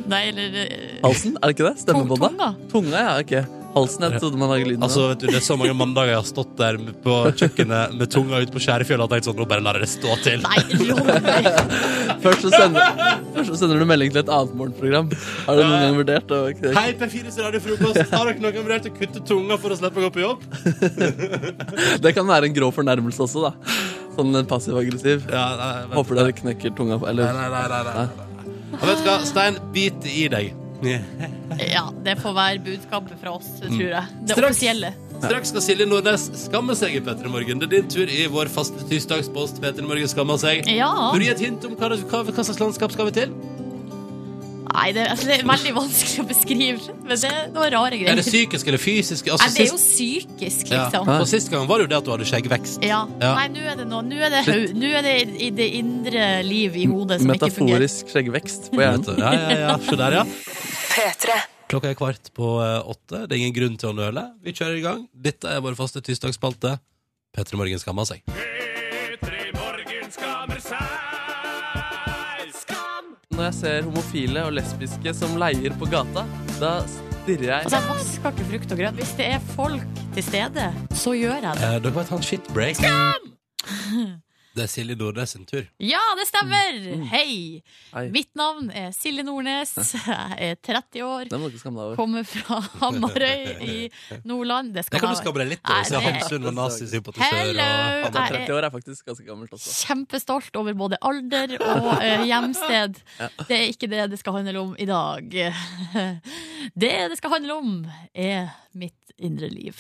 Nei, eller eh,
Halsen, er det ikke det? Stemmebåndet?
Tunga.
Tunga, ja, ok Halsen, jeg trodde man lager lyden av.
Altså, vet du, Det er så mange mandager jeg har stått der med- på kjøkkenet med tunga ut på skjærefjøla og tenkt sånn Nå bare lar jeg det stå til.
Nei, Ronny.
Først så, sender, først så sender du melding til et annet morgenprogram. Har du noen gang vurdert å knekke?
Hei, P4s radiofrokost. Har dere noen vurdert å kutte tunga for å slippe å gå på jobb?
Det kan være en grå fornærmelse også, da. Sånn passiv-aggressiv.
Ja, nei, vent.
Håper dere knekker tunga på
Nei,
Eller
nei, nei, nei, nei, nei. Og vet du hva, Stein, bit i deg.
Ja, det får være budskapet fra oss, tror jeg. Det
Straks.
offisielle.
Straks skal Silje Nordnes skamme seg i P3 Morgen. Det er din tur i vår faste tirsdagspost. P3 Morgen skammer seg.
Ja.
Vil du gi et hint om hva, hva, hva slags landskap skal vi til?
Nei, det, altså, det er veldig vanskelig å beskrive, men det er noen rare
Er
greier.
det psykisk eller fysisk? Altså,
Nei, det er jo
sist,
psykisk,
ja.
liksom.
For sist gang var det jo det at du hadde skjeggvekst.
Ja.
Ja.
Nei, nå er det noe. Nå er det, hau- nå er det i, i det indre liv i hodet som ikke fungerer.
metaforisk skjeggvekst på
Mm. Vet
hjernen.
du. Ja, ja, ja. Se der, ja. Klokka er kvart på eh, åtte. Det er ingen grunn til å nøle. Vi kjører i gang. Dette er vår faste tirsdagsspalte. P3 Morgen skammer seg.
Når jeg ser homofile og lesbiske som leier på gata, da stirrer jeg
Altså, jeg vasker ikke frukt og grønt. Hvis det er folk til stede, så gjør jeg det.
Eh, dere må ta en shitbreak. Det er Silje Nordnes sin tur.
Ja, det stemmer!
Mm.
Hei!
Hei.
Mitt navn er Silje Nordnes. Jeg er 30 år.
Det må du ikke skamme deg over.
Kommer fra Hamarøy i Nordland. Det
Det
skal
kan du
man-
skamme deg litt eh,
Nei,
over, siden
det-
Hamsun var nazisympatisør.
Hello!
og-
Jeg er
30 år er faktisk ganske gammelt også.
Kjempestolt over både alder og eh, hjemsted. Det er ikke det det skal handle om i dag. Det det skal handle om, er mitt indre liv.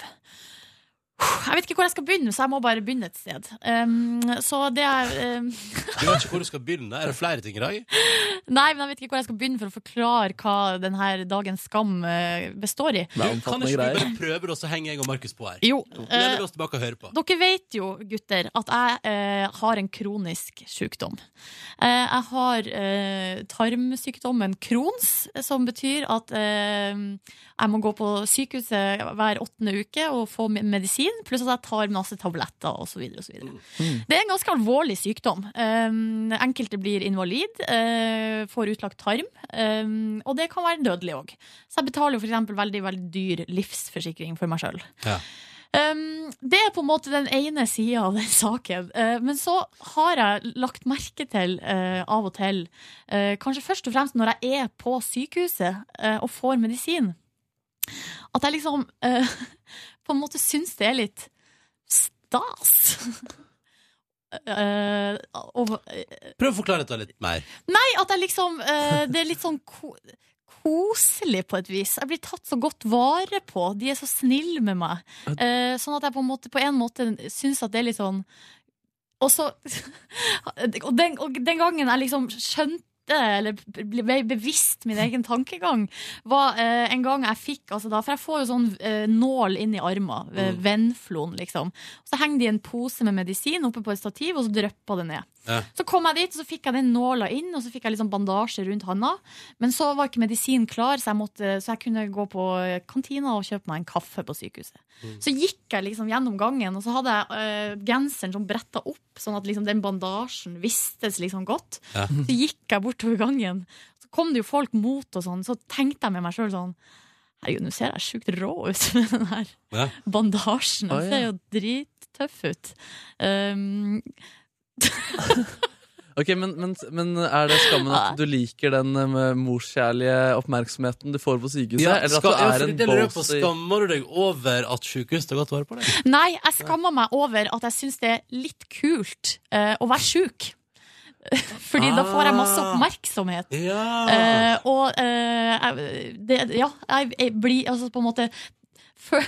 Jeg vet ikke hvor jeg skal begynne, så jeg må bare begynne et sted. Um, så det er um,
Du vet ikke hvor du skal begynne. Er det flere ting i dag?
Nei, men jeg vet ikke hvor jeg skal begynne for å forklare hva denne dagens skam eh, består i.
Det er
Kan ikke
omfattende
du
greier.
bare prøve, da, så henger jeg og Markus på her?
Jo, eh,
Lener vi oss tilbake og hører på.
Dere vet jo, gutter, at jeg eh, har en kronisk sykdom. Eh, jeg har eh, tarmsykdommen Crohns, som betyr at eh, jeg må gå på sykehuset hver åttende uke og få me- medisin, pluss at jeg tar masse tabletter osv. Det er en ganske alvorlig sykdom. Eh, enkelte blir invalid, eh, får utlagt tarm, eh, og det kan være dødelig òg. Så jeg betaler jo f.eks. veldig, veldig dyr livsforsikring for meg sjøl. Um, det er på en måte den ene sida av den saken. Eh, men så har jeg lagt merke til eh, av og til, eh, kanskje først og fremst når jeg er på sykehuset eh, og får medisin, at jeg liksom eh, på en måte syns det er litt stas. Eh, og,
Prøv å forklare dette litt mer.
Nei, at jeg liksom eh, Det er litt sånn ko koselig på et vis. Jeg blir tatt så godt vare på. De er så snille med meg. Eh, sånn at jeg på en måte, på en måte syns at det er litt sånn Og så og den, og den gangen jeg liksom skjønte eller ble bevisst min egen tankegang, var eh, en gang jeg fikk altså da, For jeg får jo sånn eh, nål inn i armen. eh, Vennflon, liksom. Og så henger det i en pose med medisin oppe på et stativ, og så drypper det ned.
Ja.
Så kom jeg dit, og så fikk jeg den nåla inn, og så fikk jeg liksom bandasje rundt handa. Men så var ikke medisin klar, så jeg, måtte, så jeg kunne gå på eh, kantina og kjøpe meg en kaffe på sykehuset. Så gikk jeg liksom gjennom gangen, og så hadde jeg eh, genseren som bretta opp, sånn at liksom den bandasjen vistes liksom godt.
Ja.
Så gikk jeg bortover gangen. Så kom det jo folk mot og sånn, så tenkte jeg med meg sjøl sånn Herregud, nå ser jeg sjukt rå ut med den her
Ja.
bandasjen.
Å,
Den
ja.
ser jo drittøff ut. Um,
Ok, men, men, men er det skammen at du liker den eh, med morskjærlige oppmerksomheten du får på sykehuset?
Ja,
eller at
skal,
du
ja,
er
fordi
en
det lurer jeg på,
bossy
Skammer du deg over at sjukehuset tar godt vare på deg?
nei, jeg skamma meg over at jeg syns det er litt kult eh, å være sjuk. Fordi da får jeg masse
Ah.
oppmerksomhet.
Ja.
Eh, og eh, jeg- det, ja, jeg, jeg blir altså på en måte fø-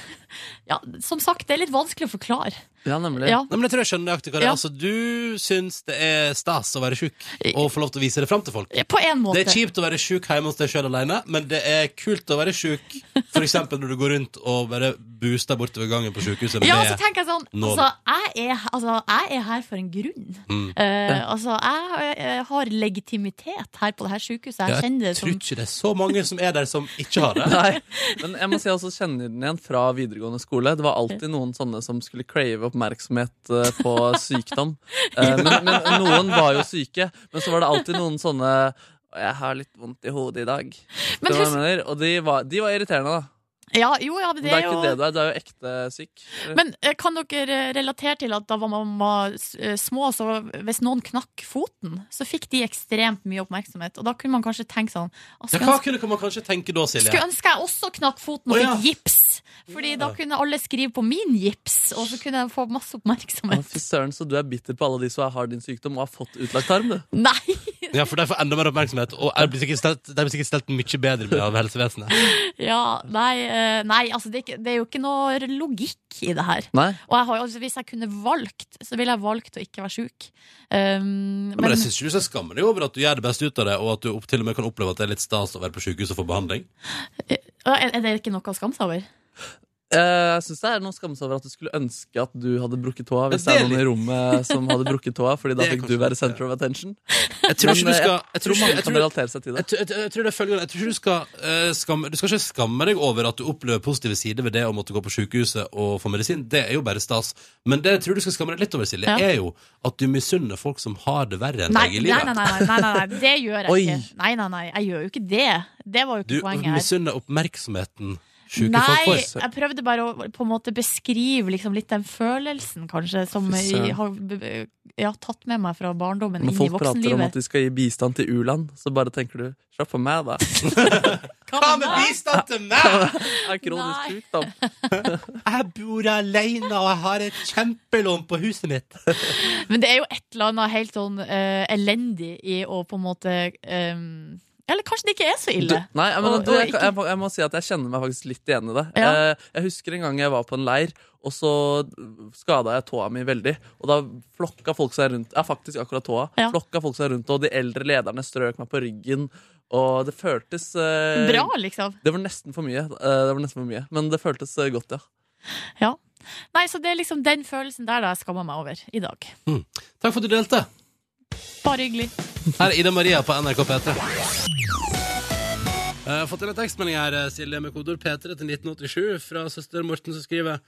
ja, Som sagt, det er litt vanskelig å forklare.
Ja, nemlig.
Ja.
Nei, men jeg tror jeg skjønner nøyaktig hva det er.
Ja.
Altså, du syns det er stas å være sjuk og få lov til å vise det fram til folk.
På en måte.
Det er kjipt å være sjuk hjemme hos deg sjøl aleine, men det er kult å være sjuk f.eks. når du går rundt og bare booster bortover gangen på sjukehuset.
Ja, og så
med-
tenker jeg sånn
Nå-
altså jeg, er, altså, jeg er her for en grunn.
Mm.
Eh, altså, jeg, eh, har legitimitet her på det her sykehuset. Jeg
Ja,
kjenner det
tror
som
ikke det er så mange som er der som ikke har det.
Nei, men jeg må si jeg også kjenner den igjen fra videregående skole. Det var alltid noen sånne som skulle crave oppmerksomhet eh, på sykdom. Eh, Men, men noen var jo syke. Men så var det alltid noen sånne Jeg har litt vondt i hodet i dag.
Men
Det var
husk-
jeg mener, og de var, de var irriterende, da.
Ja, jo, ja, men
Men
det
det
er
er ikke
jo
det du er. Du er jo ekte syk.
Men eh, kan dere eh, relatere til at da var man var s- eh, små, så hvis noen knakk foten, så fikk de ekstremt mye oppmerksomhet. Og da kunne man kanskje tenke sånn «Å,
Ja,
skulle
hva kunne man kanskje tenke da, Silje?
Skulle ønske jeg også knakk foten og
Å,
fikk
ja.
gips. Fordi da kunne alle skrive på min gips, og så kunne jeg få masse
Å,
oppmerksomhet.
Fy søren, så du er bitter på alle de som har din sykdom og har fått utlagt tarm, du.
Nei!
Ja, for de får enda mer oppmerksomhet, og de blir sikkert stelt, de blir sikkert stelt mye bedre med av helsevesenet.
Ja, nei, eh, nei altså det er, ikke, det er jo ikke noe logikk i det her.
Nei.
Og jeg har, jo- altså, hvis jeg kunne valgt, så ville jeg valgt å ikke være sjuk. Um,
Men,
men
jeg syns ikke du skal skamme deg over at du gjør det beste ut av det, og at du opp- til og med kan oppleve at det er litt stas å være på sykehus og få behandling.
Ja, er, er det ikke noe å skamme seg over?
Eh, Jeg syns det er noe å skamme seg over at du skulle ønske at du hadde brukket tåa, hvis
Ja, det er
det er noen i rommet som hadde brukket tåa, fordi da
Det er
fikk du
kanskje
være
litt,
center of attention.
Jeg tror ikke
Men,
du skal
eh,
Jeg tror ikke-
mange
jeg
kan
tror-
relatere seg til det.
jeg tror- jeg tror- jeg tror det er følgende Jeg tror ikke du skal eh, skamme Du skal ikke skamme deg over at du opplever positive sider ved det å måtte gå på sykehuset og få medisin. Det er jo bare stas. Men det jeg tror du skal skamme deg litt over, Silje,
Ja.
er jo at du misunner folk som har det verre enn
Nei,
deg i
nei,
livet.
nei, nei, nei, nei, nei, nei det gjør jeg
Oi.
ikke. Nei, nei, nei, jeg gjør jo ikke det. Det var jo
Du
ikke poenget her.
misunner oppmerksomheten sjuke folk
Nei,
får.
jeg prøvde bare å på en måte beskrive liksom litt den følelsen, kanskje, som
Fy søren.
jeg har b- b- ja, tatt med meg fra barndommen
Når
inn i
folk prater om at
voksenlivet.
de skal gi bistand til u-land, så bare tenker du Slapp på meg, da.
Hva med bistand til meg?!
Jeg er kronisk
Nei.
sjuk, da.
Jeg bor alene, og jeg har et kjempelån på huset mitt.
Men det er jo et eller annet helt sånn eh, elendig i å på en måte eh, Eller kanskje det ikke er så ille.
Nei, jeg, mener,
Og-
du,
og
jeg,
ikke-
jeg, må- jeg må si at jeg kjenner meg faktisk litt igjen i det.
Ja.
Eh, Jeg husker en gang jeg var på en leir, og så skada jeg tåa mi veldig. Og da flokka folk seg rundt Ja, faktisk akkurat tåa.
Ja.
Flokka folk seg rundt, og de eldre lederne strøk meg på ryggen. Og det føltes eh,
Bra, liksom.
Det var nesten for mye, eh, det var nesten for mye men det føltes eh, godt, ja.
Ja. Nei, så det er liksom den følelsen der da jeg skammer meg over i dag.
Takk for at du delte.
Bare hyggelig.
Her er Ida Maria på NRK P3. Jeg har fått inn en tekstmelding her, eh, Silje, med kodord P3 til 1987 fra søster Morten, som skriver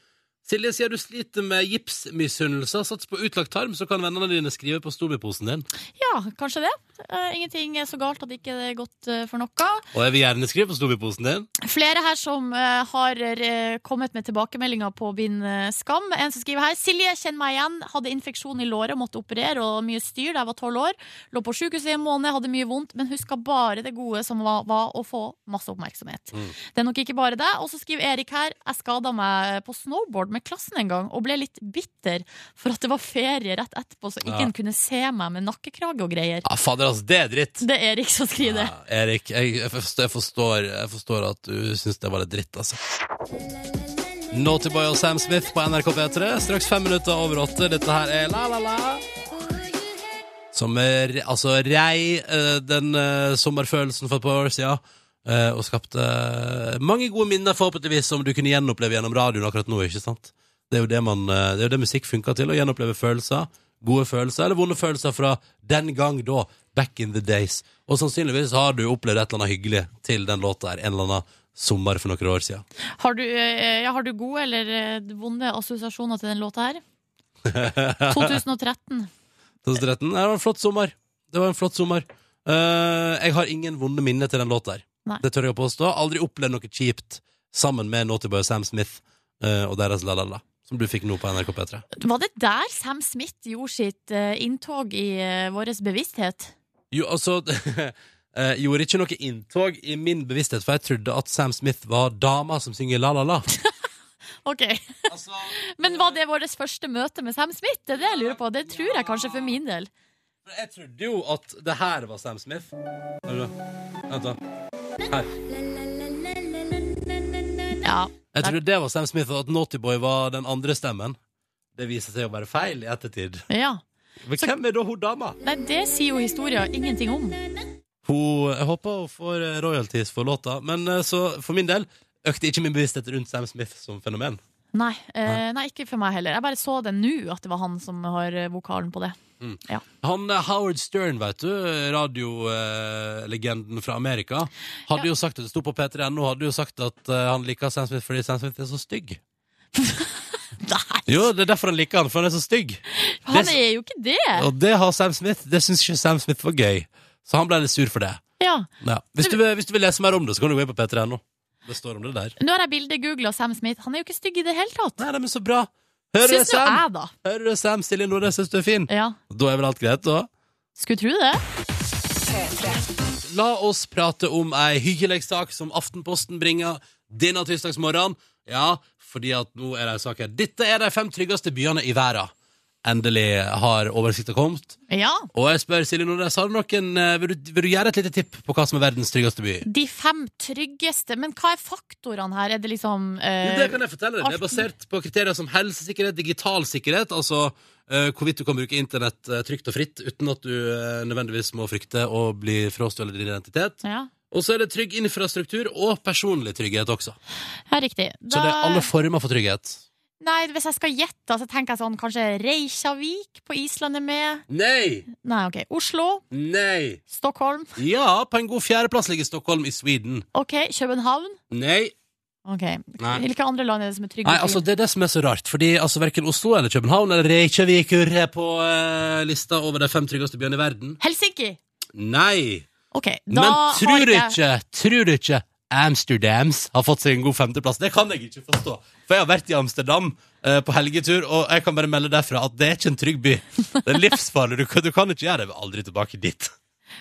Silje sier du sliter med gipsmisunnelser. Sats på utlagt tarm, så kan vennene dine skrive på storbyposen din.
Ja, kanskje det. Eh, ingenting er så galt at det ikke er godt eh, for noe.
Og jeg vil gjerne skrive på storbyposen din.
Flere her som eh, har eh, kommet med tilbakemeldinger på Bind eh, skam. En som skriver her. Silje, kjenn meg igjen. Hadde infeksjon i låret, måtte operere og mye styr da jeg var tolv år. Lå på sjukehuset i en måned, hadde mye vondt, men huska bare det gode som var, var å få masse oppmerksomhet. Det er nok ikke bare det. Og så skriver Erik her. Jeg skada meg eh, på snowboard med klassen en gang og ble litt bitter for at det var ferie rett etterpå, så
Ja.
ingen kunne se meg med nakkekrage og greier.
Ja, fader, altså, det er dritt.
Det er Erik som skriver det.
Ja, Erik, jeg, jeg, forstår, jeg, forstår, jeg forstår at du syns det var litt dritt, altså. Naughty Boy og Sam Smith på NRK P3. Straks fem minutter over åtte. Dette her er La La La Som er, altså rei eh, den eh, sommerfølelsen for et par år siden. eh, og skapte eh, mange gode minner, forhåpentligvis, som du kunne gjenoppleve gjennom radioen akkurat nå. ikke sant? Det er jo det, man, eh, det, er jo det musikk funker til, å gjenoppleve følelser. Gode følelser eller vonde følelser fra den gang da, back in the days. Og sannsynligvis har du opplevd et eller annet hyggelig til den låta her en eller annen sommer for noen år siden.
Har du, eh, ja, har du gode eller eh, vonde assosiasjoner til den låta her? 2013.
2013. Det var en flott sommer. Det var en flott sommer. Eh, jeg har ingen vonde minner til den låta her.
Nei.
Det tør jeg å påstå. Aldri opplevd noe kjipt sammen med Naughty Boy og Sam Smith eh, og deres La La La, som du fikk nå på NRK P3.
Var det der Sam Smith gjorde sitt eh, inntog i eh, vår bevissthet?
Jo, altså eh, Gjorde ikke noe inntog i min bevissthet, for jeg trodde at Sam Smith var dama som synger La La La.
Ok,
Altså,
Men var det vårt første møte med Sam Smith? Det er det jeg lurer på. Det tror jeg kanskje for min del.
jeg trodde jo at det her var Sam Smith. Hør da. Vent, da.
Ja.
Jeg trodde det var Sam Smith, og at Naughty Boy var den andre stemmen. Det viser seg å være feil i ettertid.
ja.
Men hvem er da hun dama?
Nei, det sier jo historia ingenting om.
Hun, jeg håper hun får eh, royalties for låta, men eh, så for min del økte ikke min bevissthet rundt Sam Smith som fenomen.
Nei, eh, nei, ikke for meg heller. Jeg bare så det nå, at det var han som har eh, vokalen på det.
Han eh, Howard Stern, vet du, eh, radiolegenden fra Amerika, hadde jo sagt at det sto på P3NO, hadde jo sagt at eh, han liker Sam Smith fordi Sam Smith er så stygg.
Nei,
Jo, det er derfor han liker han, for han er så stygg.
han er jo ikke det!
Og det har Sam Smith, det syns ikke Sam Smith var gøy, så han ble litt sur for det.
Ja.
Ja. Hvis, du, vil- hvis du vil lese mer om det, så kan du gå inn på p3.no. Det står om det der.
Nå har jeg bildegoogla Sam Smith. Han er jo ikke stygg i det hele tatt.
Nei, nei, men så bra! Hører du,
Syns nå
Sam?
jeg, da.
Hører du, Sam? Silje Nordnes syns du er fin.
Ja.
Da er vel alt greit, da?
Skulle tro det.
La oss prate om ei hyggelig sak som Aftenposten bringer denne tirsdagsmorgenen. Ja, fordi at nå er det en sak her. Dette er de fem tryggeste byene i verden. Endelig har oversikta kommet.
Ja.
Og jeg spør Silje Nordnes, har du noen, eh, vil, du, vil du gjøre et lite tipp på hva som er verdens tryggeste by?
De fem tryggeste. Men hva er faktorene her? Er det liksom
Jo,
eh,
det kan jeg fortelle deg. Det er
Aften-
basert på kriterier som helsesikkerhet, digital sikkerhet, altså eh, hvorvidt du kan bruke internett eh, trygt og fritt uten at du eh, nødvendigvis må frykte å bli frastjålet din identitet.
ja.
Og så er det trygg infrastruktur og personlig trygghet også.
ja, riktig.
Så det er alle former for trygghet.
Nei, hvis jeg skal gjette, så tenker jeg sånn kanskje Reykjavik på Island er med.
Nei!
Nei, OK. Oslo.
Nei!
Stockholm.
Ja, på en god fjerdeplass ligger Stockholm i Sweden.
OK. København.
Nei.
Ok,
Nei.
Hvilke andre land er det som er trygge?
Nei, altså Det er det som er så rart. Fordi altså Verken Oslo eller København eller Reykjavik er på eh, lista over de fem tryggeste byene i verden.
Helsinki!
Nei!
Ok, da
Men tror
har
du
jeg-
ikke, tror du ikke Amsterdams har fått seg en god femteplass? Det kan jeg ikke forstå. For jeg har vært i Amsterdam eh, på helgetur, og jeg kan bare melde derfra at det er ikke en trygg by. Det er livsfarlig. Du, kan- du kan ikke gjøre det. Jeg vil aldri tilbake dit.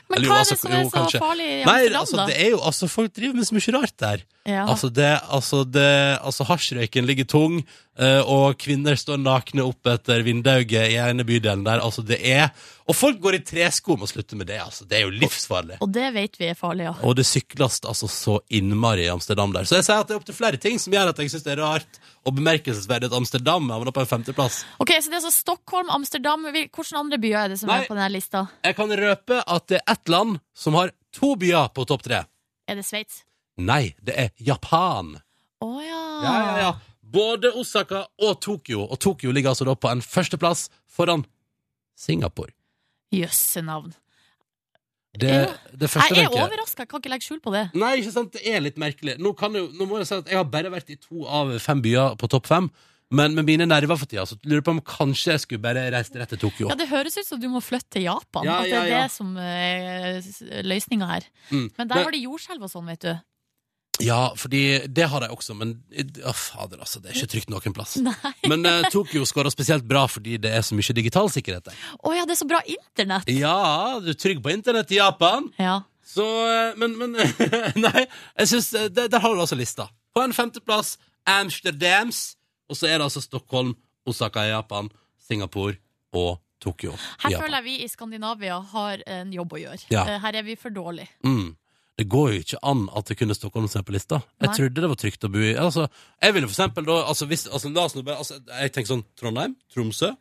Men
Eller jo,
hva er
altså,
det som er
jo,
så
kanskje.
farlig i
Nei,
Amsterdam,
altså,
da?
det er jo, altså, folk driver med så mye rart der.
Ja.
Altså, det, altså, det, altså, hasjrøyken ligger tung, eh, og kvinner står nakne opp etter vinduet i ene bydelen der. Altså, det er Og folk går i tresko om å slutte med det, altså. Det er jo livsfarlig.
Og det vet vi er farlig, ja.
Og det sykles altså så innmari i Amsterdam der. Så jeg sier at det er opptil flere ting som gjør at jeg syns det er rart og bemerkelsesverdig at Amsterdam havner på en femteplass.
Ok, Så det er så Stockholm, Amsterdam hvil- Hvilke andre byer er det som
Nei.
er på denne lista?
Jeg kan røpe at det er ett land som har to byer på topp tre.
Er det Sveits?
Nei, det er Japan.
Å ja.
Ja, ja, ja. Både Osaka og Tokyo. Og Tokyo ligger altså da på en førsteplass foran Singapore.
Jøsse navn.
Det, det første
Jeg er
tenker-
overraska, kan ikke legge skjul på det.
Nei, ikke sant? Det er litt merkelig. Nå, kan jeg, jo- nå må jeg si at jeg har bare vært i to av fem byer på topp fem. Men med mine nerver for tida, så lurer jeg på om kanskje jeg skulle bare reist rett til Tokyo.
Ja, Det høres ut som du må flytte til Japan.
Ja,
at det
ja,
er
ja.
det som er løsninga her.
Mm.
Men der var det jordskjelv og sånn, vet du.
Ja, fordi det har de også, men Å, fader, altså. Det er ikke trygt noen plass.
Nei.
Men eh, Tokyo skårer spesielt bra fordi det er så mye digital sikkerhet der.
Å ja, det er så bra internett!
Ja, du er trygg på internett i Japan.
Ja.
Så, eh, men, men Nei, jeg synes, eh, der, der har du altså lista. På en femteplass Amsterdams, og så er det altså Stockholm, Osaka i Japan, Singapore og Tokyo. i
Her
Japan.
føler jeg vi i Skandinavia har en jobb å gjøre.
Ja.
Eh, Her er vi for dårlige.
Mm. Det går jo ikke an at det kunne Stockholm som er på lista. Jeg
Nei.
trodde det var trygt å bo i. Altså, jeg ville for eksempel da altså, hvis, altså, la oss nå bare, altså, Jeg tenker sånn Trondheim, Tromsø,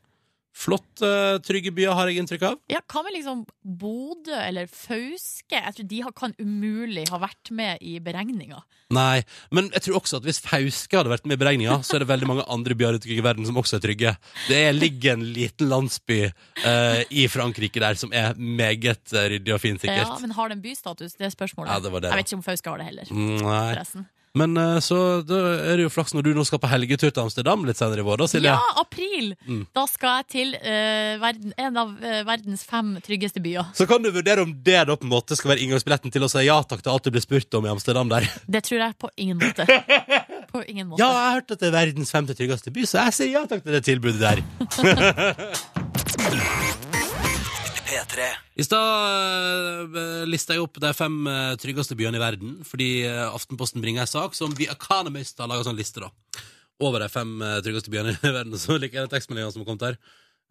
Flott, eh, trygge byer, har jeg inntrykk av.
Ja, Hva med liksom Bodø eller Fauske? Jeg tror de har, kan umulig ha vært med i beregninga.
Nei, men jeg tror også at hvis Fauske hadde vært med i beregninga, så er det veldig mange andre byer rundt omkring i verden som også er trygge. Det er- ligger en liten landsby eh, i Frankrike der som er meget eh, ryddig og fin, sikkert.
Ja, men har den bystatus? Det er spørsmålet.
Ja, det var det, da.
Jeg vet ikke om Fauske har det heller.
Mm, Nei.
forresten.
Men eh, så da er det jo flaks når du nå skal på helgetur til Amsterdam litt senere i vår, da, Silje.
Ja, april!
Mm.
Da skal jeg til eh, verden, en av eh, verdens fem tryggeste byer.
Så kan du vurdere om det da på en måte skal være inngangsbilletten til å si ja takk til alt du blir spurt om i Amsterdam der.
Det tror jeg på ingen måte. På ingen måte.
Ja, jeg har hørt at det er verdens femte tryggeste by, så jeg sier ja takk til det tilbudet der.
P3.
I stad eh, lista jeg opp de fem eh, tryggeste byene i verden, fordi eh, Aftenposten bringer en sak som The Economist har laga sånn liste, da. Over de fem eh, tryggeste byene i verden. Så liker jeg den tekstmeldinga som har kommet her.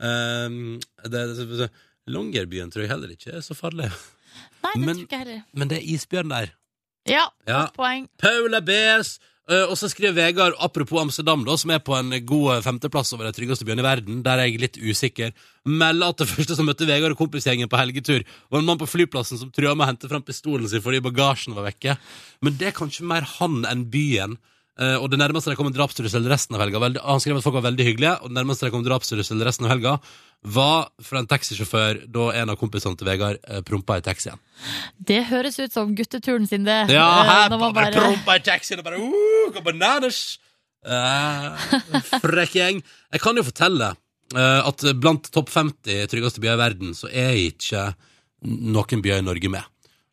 Um, det, det, det, Longyearbyen tror jeg heller ikke er så farlig.
Nei, det
men-
tror ikke jeg heller.
Men det er isbjørn der.
Ja,
Ja.
godt poeng.
Paula Beers. eh, Og så skriver Vegard, apropos Amsterdam, da, som er på en god eh, femteplass over de tryggeste byene i verden, der er jeg litt usikker, melder at det første som møtte Vegard og kompisgjengen på helgetur, var en mann på flyplassen som trua med å hente fram pistolen sin fordi bagasjen var vekke. Men det er kanskje mer han enn byen. Eh, og det nærmeste det kom en drapstrussel resten av helga veldig, Han skrev at folk var veldig hyggelige, og det nærmeste det kom en drapstrussel resten av helga, var fra en taxisjåfør da en av kompisene til Vegard eh, prompa i taxien.
Det høres ut som gutteturen sin, det.
Ja,
Eh,
her bare,
når man
bare
bare-
prompa i taxien og bare uh, går bananas! Eh, frekk gjeng. Jeg kan jo fortelle eh, at blant topp 50 tryggeste byer i verden, så er ikke noen byer i Norge med.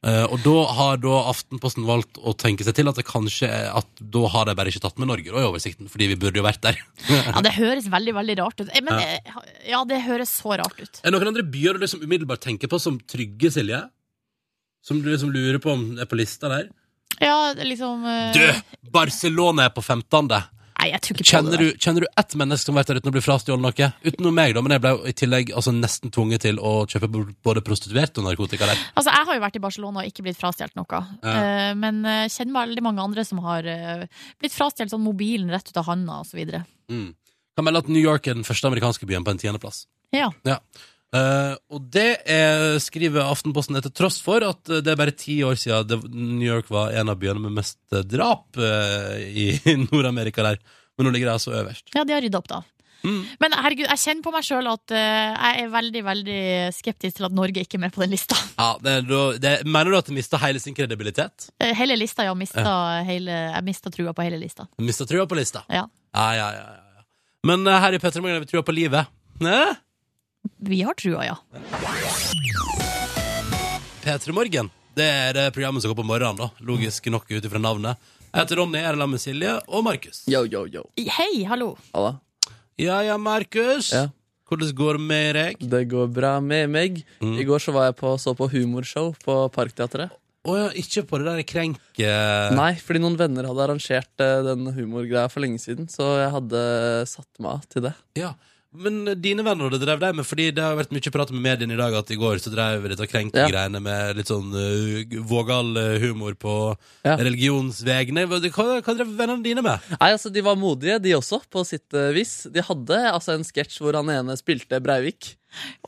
Eh, og da har da Aftenposten valgt å tenke seg til at det kanskje er at da har de bare ikke tatt med Norge da, i oversikten, fordi vi burde jo vært der.
Ja, det høres veldig, veldig rart ut. Eh, Men eh, ja, det høres så rart ut.
Er det noen andre byer du liksom umiddelbart tenker på som trygge, Silje? Som du liksom lurer på om er på lista der?
Ja, det er liksom eh,
Du! Barcelona er på 15.
Nei, jeg tror ikke på
Kjenner
det.
du, kjenner du ett menneske som har vært der uten å bli frastjålet noe? Utenom meg, da, men jeg ble jo i tillegg altså, nesten tvunget til å kjøpe b- både prostituert og narkotika der.
Altså, Jeg har jo vært i Barcelona og ikke blitt frastjålet noe.
Ja.
Eh, men eh, kjenner veldig mange andre som har eh, blitt frastjålet sånn mobilen rett ut av handa osv.
Mm. Kan melde at New York er den første amerikanske byen på en tiendeplass.
Ja.
Ja. Eh, og det er, skriver Aftenposten er til tross for at eh, det er bare ti år siden det, New York var en av byene med mest eh, drap eh, i Nord-Amerika der. Men nå ligger det altså øverst.
ja, de har rydda opp, da.
Mm.
Men herregud, jeg kjenner på meg sjøl at eh, jeg er veldig veldig skeptisk til at Norge ikke er med på den lista.
Ja, det, er da- det, mener du at det mista hele sin kredibilitet?
Eh, Hele lista, ja. Mista hele, jeg mista trua på hele lista.
Mista trua på lista?
Ja.
Ja, ja, ja, ja, ja. Men eh, her i Petter Morgen har vi trua på livet. Hæ?
Vi har trua, ja.
P3 Morgen. Det er det programmet som går på morgenen, da. Logisk nok ut ifra navnet. Jeg heter Ronny, jeg er sammen med Silje og Markus.
Yo, yo, yo.
Hei, hallo.
Halla.
Ja ja, Markus.
Ja.
Hvordan går det med deg?
Det går bra med meg. I går så var jeg på, så på humorshow på Parkteatret.
Å ja, ikke på det der krenke...
Nei, fordi noen venner hadde arrangert eh, den humorgreia for lenge siden, så jeg hadde satt meg av til det.
Ja. Men eh, dine venner det drev deg med, fordi det har vært mye prat med mediene i dag at i går så drev vi litt av krenkegreiene med litt sånn eh, vågal eh, humor på
Ja.
religionsvegne. Hva, hva hva drev vennene dine med?
Nei, altså De var modige, de også, på sitt eh, vis. De hadde altså en sketsj hvor han ene spilte Breivik.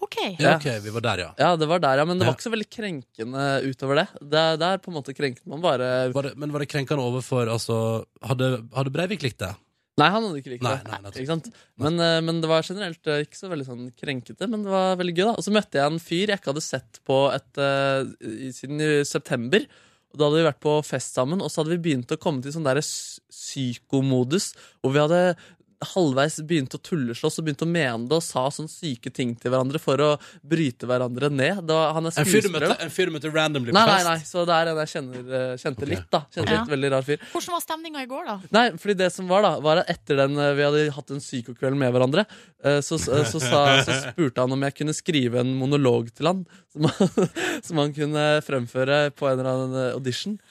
OK.
Ja,
Ja.
ok, vi var der, ja.
Ja, det var der, ja, Men det
Ja.
var ikke så veldig krenkende utover det. Der, der på en måte krenket man bare
Var det, men var det krenkende overfor altså, hadde, hadde Breivik likt det?
Nei, han hadde ikke likt
Nei,
det.
nei, nettopp.
ikke sant? Men, eh, men det var generelt eh, ikke så veldig sånn krenkete, men det var veldig gøy. da Og så møtte jeg en fyr jeg ikke hadde sett på et, eh, i- siden i september. Og Da hadde vi vært på fest sammen, og så hadde vi begynt å komme til sånn der s- psykomodus. Hvor vi hadde halvveis begynt å tulleslåss og begynt å mene det og sa sånn syke ting til hverandre for å bryte hverandre ned. Det var, han er
En fyr du møtte,
skuespiller. da.
en fyr du møtte randomly på
Nei, nei,
fest?
nei, så det er en jeg kjenner, eh, kjente
Ok.
litt, da. Kjente
Ok.
litt veldig rar fyr.
Hvordan var stemninga i går, da?
Nei, fordi det som var da Var at etter den eh, vi hadde hatt en psykokveld med hverandre eh, så, så, så, sa, så spurte han om jeg kunne skrive en monolog til han Som han, som han kunne fremføre på en eller annen eh, audition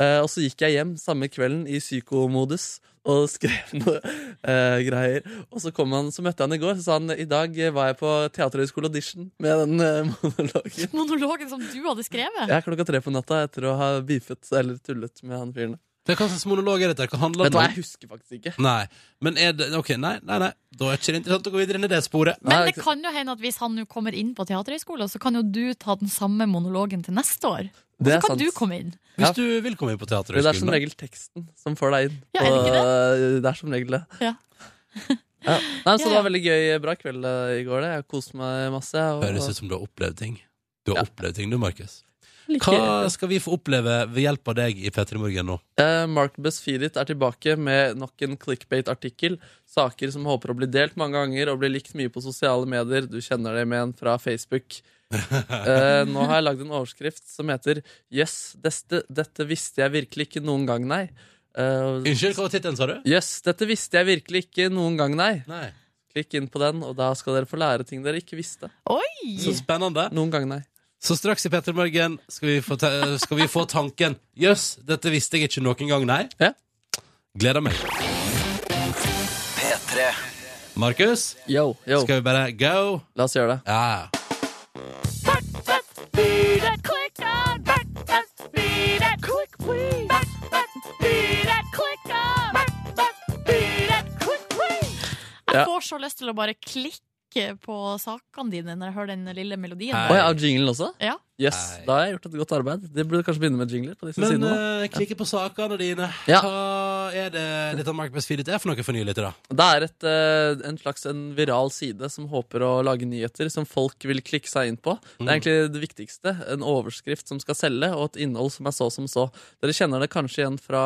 Eh, Og så gikk jeg hjem samme kvelden i psykomodus og skrev noe eh, greier Og så, kom han, så møtte jeg han i går Så sa han, i dag eh, var jeg på teaterhøyskole audition Med den eh, monologen
Monologen som du hadde skrevet?
Jeg er klokka tre på natta etter å ha beefet Eller tullet med han fyren
Det er hva slags monolog er dette? Hva handler
Vet du
det
hva,
om?
jeg husker faktisk ikke.
Nei. Men er det Ok, nei, nei, nei. Da er det ikke interessant å gå videre inn i det sporet.
Nei,
Men det
ikke-
kan jo hende at hvis han nå kommer inn på Teaterhøgskolen, så kan jo du ta den samme monologen til neste år.
Det
Så
er
kan
sant.
du komme inn.
Hvis
Ja.
du vil komme inn på
For det er som
teaterhøgskolen.
regel teksten som får deg inn.
Ja, er det ikke
Og, det er som regel det.
Ja.
Ja. Nei, så
Ja,
det
ja.
var veldig gøy, bra kveld eh, i går. det Jeg koste meg masse.
da.
Og,
Høres ut som du har opplevd ting. Du har
Ja.
opplevd ting, du, Markus.
Like-
Hva skal vi få oppleve ved hjelp av deg i P3 Morgen nå?
Eh, Mark Besfidit er tilbake med nok en clickbait-artikkel. Saker som håper å bli delt mange ganger og blir likt mye på sosiale medier. Du kjenner dem igjen fra Facebook. Eh, nå har jeg lagd en overskrift som heter 'Yes, dette, dette visste jeg virkelig ikke noen gang, nei'. Eh,
Unnskyld, hva var tittelen, sa du?
Yes, dette visste jeg virkelig ikke noen gang, nei.
Nei.
Klikk inn på den, og da skal dere få lære ting dere ikke visste.
Så
Oi!
spennende.
Noen gang, nei.
Så straks i P3 Morgen skal vi få, ta skal vi få tanken Jøss, dette visste jeg ikke noen gang, nei.
Ja.
Gleder meg.
P3.
Markus,
Yo, yo.
skal vi bare go?
La oss gjøre det.
Ja.
Ja.
Jeg får så lyst til å bare klikke på sakene dine når jeg hører den lille melodien.
Nei.
Å
der.
ja, og jinglen også?
Ja.
Yes,
Nei.
da har jeg gjort et godt arbeid. De burde kanskje begynne med jingler. på disse
Men
sidene da.
eh, klikke på sakene dine.
Ja.
Hva er det dette Mark Besfidet er for noe for nye lyttere?
Det er et, eh, en slags en viral side som håper å lage nyheter som folk vil klikke seg inn på. Det er egentlig det viktigste. En overskrift som skal selge, og et innhold som er så som så. Dere kjenner det kanskje igjen fra,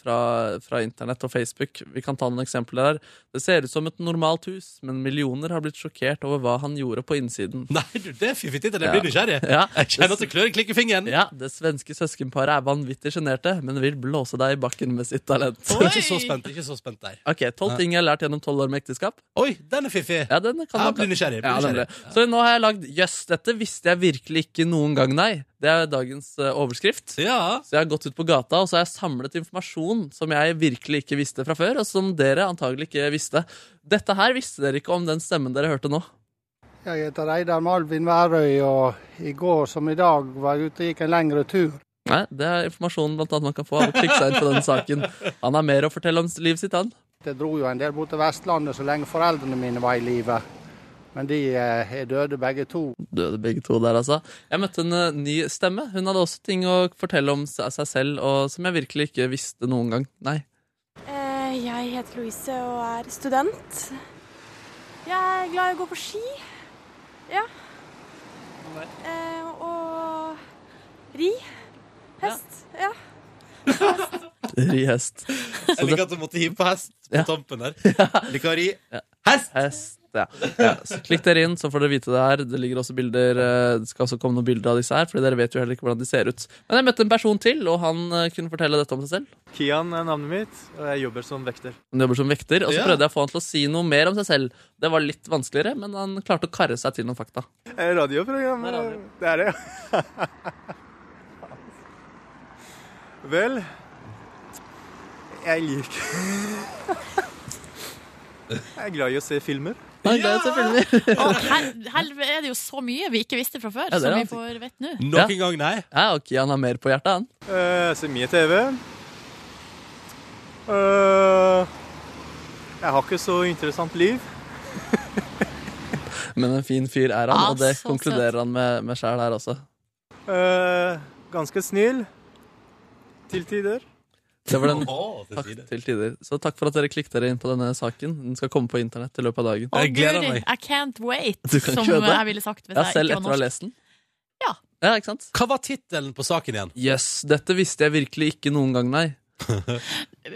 fra, fra internett og Facebook. Vi kan ta noen eksempler her. Det ser ut som et normalt hus, men millioner har blitt sjokkert over hva han gjorde på innsiden.
Nei, du, det er fiffig tittel. Jeg
Ja.
blir nysgjerrig.
Ja,
Jeg kjenner at det klør i klikkefingeren.
ja, det svenske søskenparet er vanvittig sjenerte, men vil blåse deg i bakken med sitt talent.
Oi!
Ikke så spent ikke så spent der.
Ok, Tolv ting jeg har lært gjennom tolv år med ekteskap.
Oi, den er fiffig.
Ja, den kan
Jeg
man-
blir nysgjerrig.
Ja,
Blir
nemlig.
nysgjerrig.
Så nå har jeg lagd 'Jøss, dette visste jeg virkelig ikke noen gang', nei. Det er dagens eh, overskrift.
Ja.
Så jeg har gått ut på gata og så har jeg samlet informasjon som jeg virkelig ikke visste fra før, og som dere antagelig ikke visste. Dette her visste dere ikke om den stemmen dere hørte nå.
Jeg heter Reidar Malvin Værøy, og i går som i dag var jeg ute og gikk en lengre tur.
Nei, Det er informasjonen blant annet man kan få av å klikke seg inn på den saken. Han har mer å fortelle om livet sitt, han.
Det dro jo en del bort til Vestlandet så lenge foreldrene mine var i live. Men de eh, er døde begge to.
Døde begge to der, altså. Jeg møtte en eh, ny stemme. Hun hadde også ting å fortelle om se- seg selv, og som jeg virkelig ikke visste noen gang. Nei.
Eh, Jeg heter Louise og er student. Jeg er glad i å gå på ski. Ja. Eh, og ri. Hest. Ja.
Ri hest.
Jeg liker at du måtte hive på hest på
Ja.
tampen der. Liker å ri hest.
Hest, ja. ja. Så klikk dere inn, så får dere vite det her. Det ligger også bilder eh, Det skal også komme noen bilder av disse her, Fordi dere vet jo heller ikke hvordan de ser ut. Men jeg møtte en person til, og han eh, kunne fortelle dette om seg selv.
Kian er navnet mitt, og jeg jobber som vekter.
Han jobber som vekter, og så
Ja.
prøvde jeg å få han til å si noe mer om seg selv. Det var litt vanskeligere, men han klarte å karre seg til noen fakta.
Er det radioprogram?
Det er radio.
Det er det, ja. Vel Jeg liker Jeg er glad i å se filmer.
Han er glad i å se filmer.
Og her, her er det jo så mye vi ikke visste fra før,
Ja, det er
som vi
det.
får vite nå.
Noen gang, nei.
Ja, og Kian har mer på hjertet, han.
Eh, Jeg ser mye TV. Eh, jeg har ikke så interessant liv.
Men en fin fyr er han,
Ja,
og det
så søt.
konkluderer han med, med sjæl her også.
Eh, ganske snill. Til tider.
Det var den
Å, til
Takk
side.
til tider. Så takk for at dere klikket dere inn på denne saken. Den skal komme på internett i løpet av dagen.
Å,
Jeg gleder
Guri,
meg.
I can't wait,
Du kan
som
ikke gjøre det.
jeg ville sagt hvis
Ja,
jeg
selv
ikke
etter å ha
var norsk.
lest den.
Ja.
ja ikke sant?
Hva var tittelen på saken igjen?
Jøss, yes, dette visste jeg virkelig ikke noen gang, nei.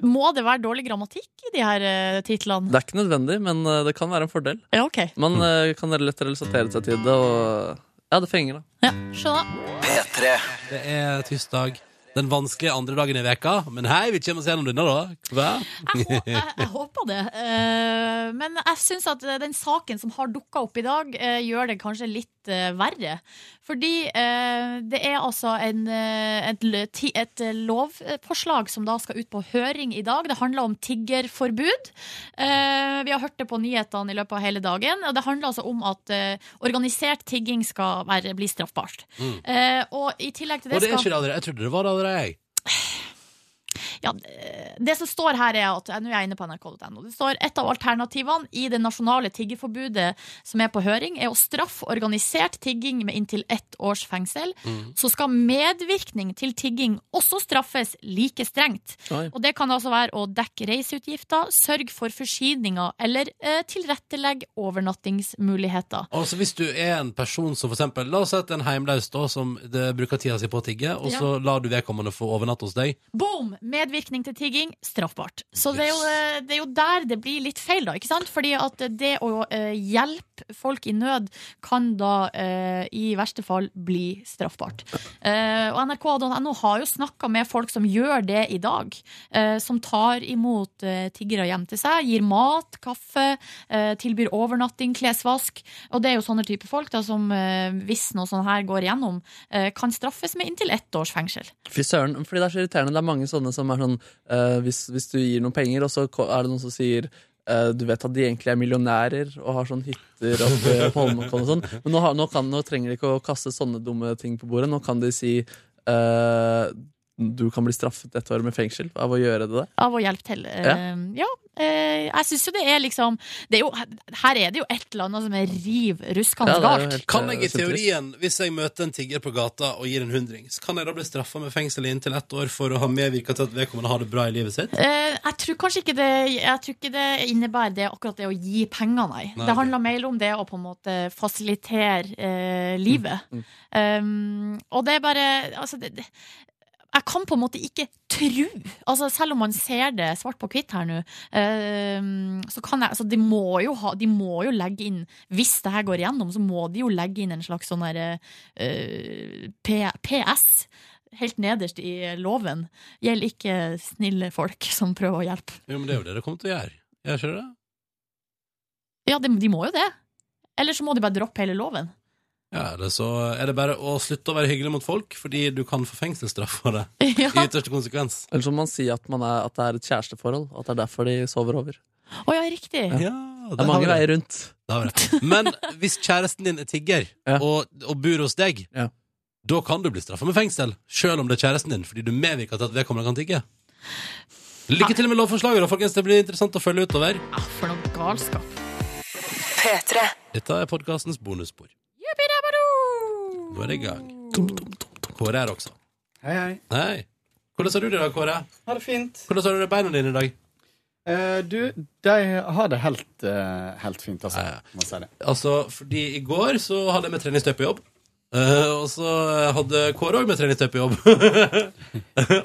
Må det være dårlig grammatikk i de her eh, titlene?
Det er ikke nødvendig, men eh, det kan være en fordel.
Ja, OK.
Man eh, kan lett relatere seg til det, og ja, det fenger, da.
Ja, skjønner.
P3.
Det er tirsdag. Den vanskelige andre dagen i veka Men hei, vi kommer oss gjennom denne, da. Hva?
Jeg, hå- jeg, jeg håper det. Eh, men jeg syns at eh, den saken som har dukka opp i dag, eh, gjør det kanskje litt eh, verre. Fordi eh, det er altså en, eh, et, lø- ti- et eh, lovforslag som da skal ut på høring i dag. Det handler om tiggerforbud. Eh, vi har hørt det på nyhetene i løpet av hele dagen. Og det handler altså om at eh, organisert tigging skal være, bli straffbart.
Mm.
Eh, og i tillegg
Og
til det
det er
skal
ikke det allerede. Jeg trodde det var det allerede. jeg.
Ja, det- det som står her er at eh, Nå er jeg inne på nrk.no. Det står et av alternativene i det nasjonale tiggeforbudet som er på høring, er å straffe organisert tigging med inntil ett års fengsel.
Mm.
Så skal medvirkning til tigging også straffes like strengt.
Oi.
Og det kan altså være å dekke reiseutgifter, sørge for forsyninger eller eh, tilrettelegge overnattingsmuligheter.
Altså Hvis du er en person som for eksempel La oss si at en heimlaus da, som det bruker tida si på å tigge, og
Ja.
så lar du vedkommende få overnatte hos deg.
Boom! Medvirkning til tigging, straffbart. Så det er, jo, eh, det er jo der det blir litt feil, da. ikke sant? Fordi at det å eh, hjelpe folk i nød kan da eh, i verste fall bli straffbart. Eh, og nrk.no har jo snakka med folk som gjør det i dag. eh, som tar imot eh, tiggere hjem til seg. Gir mat, kaffe, eh, tilbyr overnatting, klesvask. Og det er jo sånne type folk da, som eh, hvis noe sånt her går igjennom, eh, kan straffes med inntil ett års fengsel.
Fy søren, fordi det er så irriterende. Det er mange sånne som er sånn eh, hvis, hvis du gir noen penger, og så ko- er det noen som sier eh, du vet at de egentlig er millionærer og har sånn hytter oppe på Holmenkollen og sånn. Men nå, har, nå, kan, nå trenger de ikke å kaste sånne dumme ting på bordet. Nå kan de si eh, du kan bli straffet et år med fengsel av å gjøre det der.
av å hjelpe til. Eh, ja. eh, jeg syns jo det er liksom det er jo, Her er det jo et eller annet som er riv ruskende
Ja, det er jo
galt.
helt- eh,
Kan jeg i
Det er
teorien, hvis jeg møter en tigger på gata og gir en hundring, så kan jeg da bli straffa med fengsel i inntil ett år for å ha medvirka til at vedkommende har det bra i livet sitt?
Eh, jeg tror kanskje ikke det Jeg tror ikke det innebærer det akkurat det å gi penger, nei.
Nei,
det
ok.
handler mer om det å på en måte fasilitere eh, livet.
Mm,
Um, og det er bare Altså, det, det, jeg kan på en måte ikke tru altså Selv om man ser det svart på hvitt her nå, eh, så kan jeg altså de, må jo ha, de må jo legge inn Hvis det her går igjennom, så må de jo legge inn en slags sånn derre eh, P- PS. Helt nederst i loven gjelder ikke snille folk som prøver å hjelpe.
Jo, men det er jo det det kommer til å gjøre. Gjør ikke det?
Ja, de, de må jo det. Eller så må de bare droppe hele loven.
Ja, eller så er det bare å slutte å være hyggelig mot folk, fordi du kan få fengselsstraff for det.
Ja.
I ytterste konsekvens.
Eller så må man si at, man er, at det er et kjæresteforhold, at det er derfor de sover over.
Å ja, riktig.
Ja,
Det er mange veier rundt.
Da har vi det. Men hvis kjæresten din er tigger
Ja.
og, og bor hos deg,
Ja.
da kan du bli straffa med fengsel, sjøl om det er kjæresten din, fordi du medvirker til at vedkommende kan tigge. Lykke til med lovforslaget, da, folkens. Det blir interessant å følge utover.
Ah, for noe galskap.
Dette er podkastens bonusspor. Nå er det i gang. Kåre er også.
Hei, hei.
Hei. Hvordan har du det i dag, Kåre?
Ha det fint.
Hvordan har du det i beina dine i dag?
Eh, du, de har det helt, eh, helt fint, altså.
Ja, ja.
Må si det.
Altså, fordi i går så hadde jeg med treningstøy på jobb. Eh, og så hadde Kåre òg med treningstøy på jobb.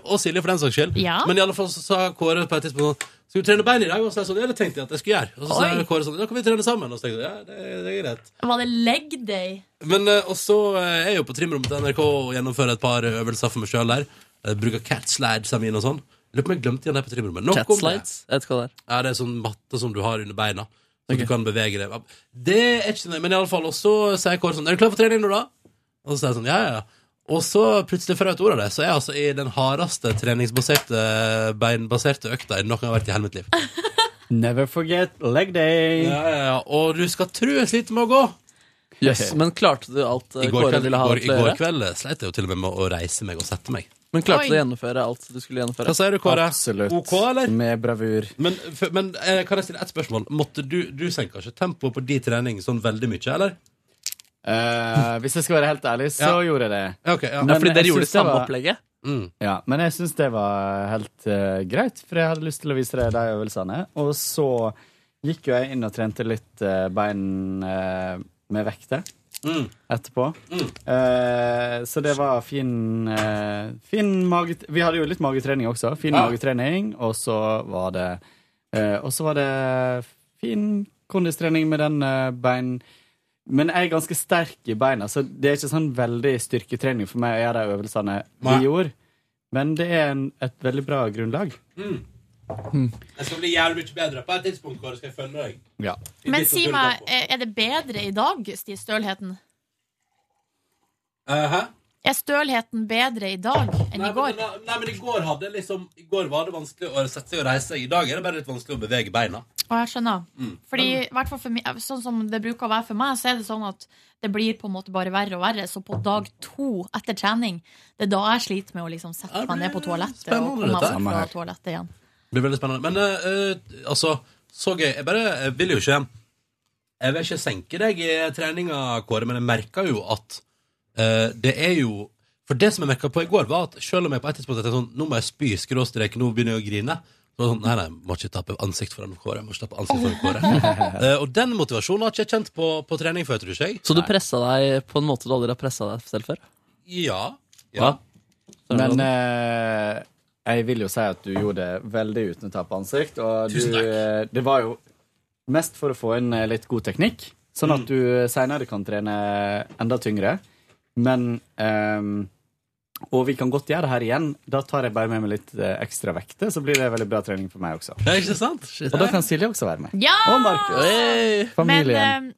og Silje, for den saks skyld.
Ja.
Men i alle fall så sa Kåre på et tidspunkt sånn Skal du trene bein i dag? Og så sa jeg sånn, ja, det tenkte jeg at jeg skulle gjøre. Og så
Oi.
sa Kåre sånn, da kan vi trene sammen. Og så tenkte jeg, ja, det, det er greit.
Var det leg day?
Men eh, og så eh, er jeg jo på trimrommet til NRK og gjennomfører et par øvelser for meg sjøl der. Jeg bruker cat slides av mine og sånn. Lurer på om jeg glemte igjen det på trimrommet. Nok om det.
Catslights. Jeg vet ikke hva det er.
Ja, det er sånn matte som du har under beina. Så
Ok.
du kan bevege det. Det er ikke noe, men i alle fall, og så sier Kåre sånn, er du klar for trening nå da? Og så sier jeg sånn, ja, ja, ja. Og så plutselig får jeg et ord av det, så er jeg altså i den hardeste treningsbaserte, beinbaserte økta jeg noen gang har vært i hele mitt liv.
Never forget leg day.
Ja, ja, ja. Og du skal tro jeg sliter med å gå.
Yes. Men klarte du alt eh,
I går
Kåre
kveld,
ville ha
går, i
deg til å
går
gjøre?
kveld sleit jeg jo til og med med å reise meg og sette meg.
Men klarte
Oi.
du å gjennomføre alt du skulle gjennomføre?
Hva sier du, Kåre?
Absolutt.
OK, eller?
Med bravur.
Men, f- men eh, kan jeg stille et spørsmål? Måtte du, du senker ikke tempoet på de trening sånn veldig mye, eller?
Eh, hvis jeg skal være helt ærlig, så gjorde jeg det.
Ja, ok, ja.
Ja, fordi
Men jeg
dere gjorde det
synes det
samme
var-
opplegget?
Mm.
Ja, men jeg syns det var helt eh, greit, for jeg hadde lyst til å vise deg de øvelsene. Og så gikk jo jeg inn og trente litt eh, bein eh, med vekter
Mm.
etterpå. Eh, så det var fin, eh, fin mage... Vi hadde jo litt magetrening også. Fin
Ja.
magetrening, og så var det eh, Og så var det fin kondistrening med den eh, bein... Men jeg er ganske sterk i beina, så det er ikke sånn veldig styrketrening for meg å gjøre de øvelsene vi
Nei.
gjorde. Men det er en, et veldig bra grunnlag.
Jeg skal bli jævlig mye bedre. På et tidspunkt Kåre, skal jeg følge deg.
Ja.
I
Men
ditt
si
naturlige
meg, eh,
tempo.
er er det bedre i dag, Sti Stølheten?
Eh, hæ?
Er stølheten bedre i dag enn
Nei,
i går?
Men, nei, men i går hadde jeg liksom I går var det vanskelig å sette seg og reise seg. I dag er det bare litt vanskelig å bevege beina.
Og jeg skjønner.
Mm.
Fordi, i hvert fall for meg, sånn som det bruker å være for meg, så er det sånn at det blir på en måte bare verre og verre. Så på dag to etter trening, det er da jeg sliter med å liksom sette meg ned på toalettet
spennende,
og komme
dette.
meg bort
Samme
fra
her.
toalettet igjen.
Det blir veldig spennende. Men eh, eh, altså, så gøy. Jeg bare jeg vil jo ikke Jeg vil ikke senke deg i treninga, Kåre, men jeg merker jo at eh, det er jo For det som jeg merka på i går, var at selv om jeg på et tidspunkt tenkte sånn Nå må jeg spy, skråstrek, nå begynner jeg å grine. Så var det sånn, nei, nei, må ikke tappe ansikt foran Kåre. Må ikke tappe ansikt foran Kåre. Eh, og den motivasjonen har ikke jeg kjent på, på trening før, tror ikke jeg.
Så du pressa deg på en måte du aldri har pressa deg selv før?
Ja.
Ja.
Men eh, jeg vil jo si at du gjorde det veldig uten å tape ansikt. Og du,
Tusen takk.
eh, det var jo mest for å få inn eh, litt god teknikk, sånn
Mm.
at du seinere kan trene enda tyngre. Men ehm, Og vi kan godt gjøre det her igjen. Da tar jeg bare med meg litt eh, ekstra vekter, så blir det veldig bra trening for meg også.
Det er ikke sant? Shit.
Og da kan Silje også være med.
Ja!
Og Markus.
Men
Familien.
eh,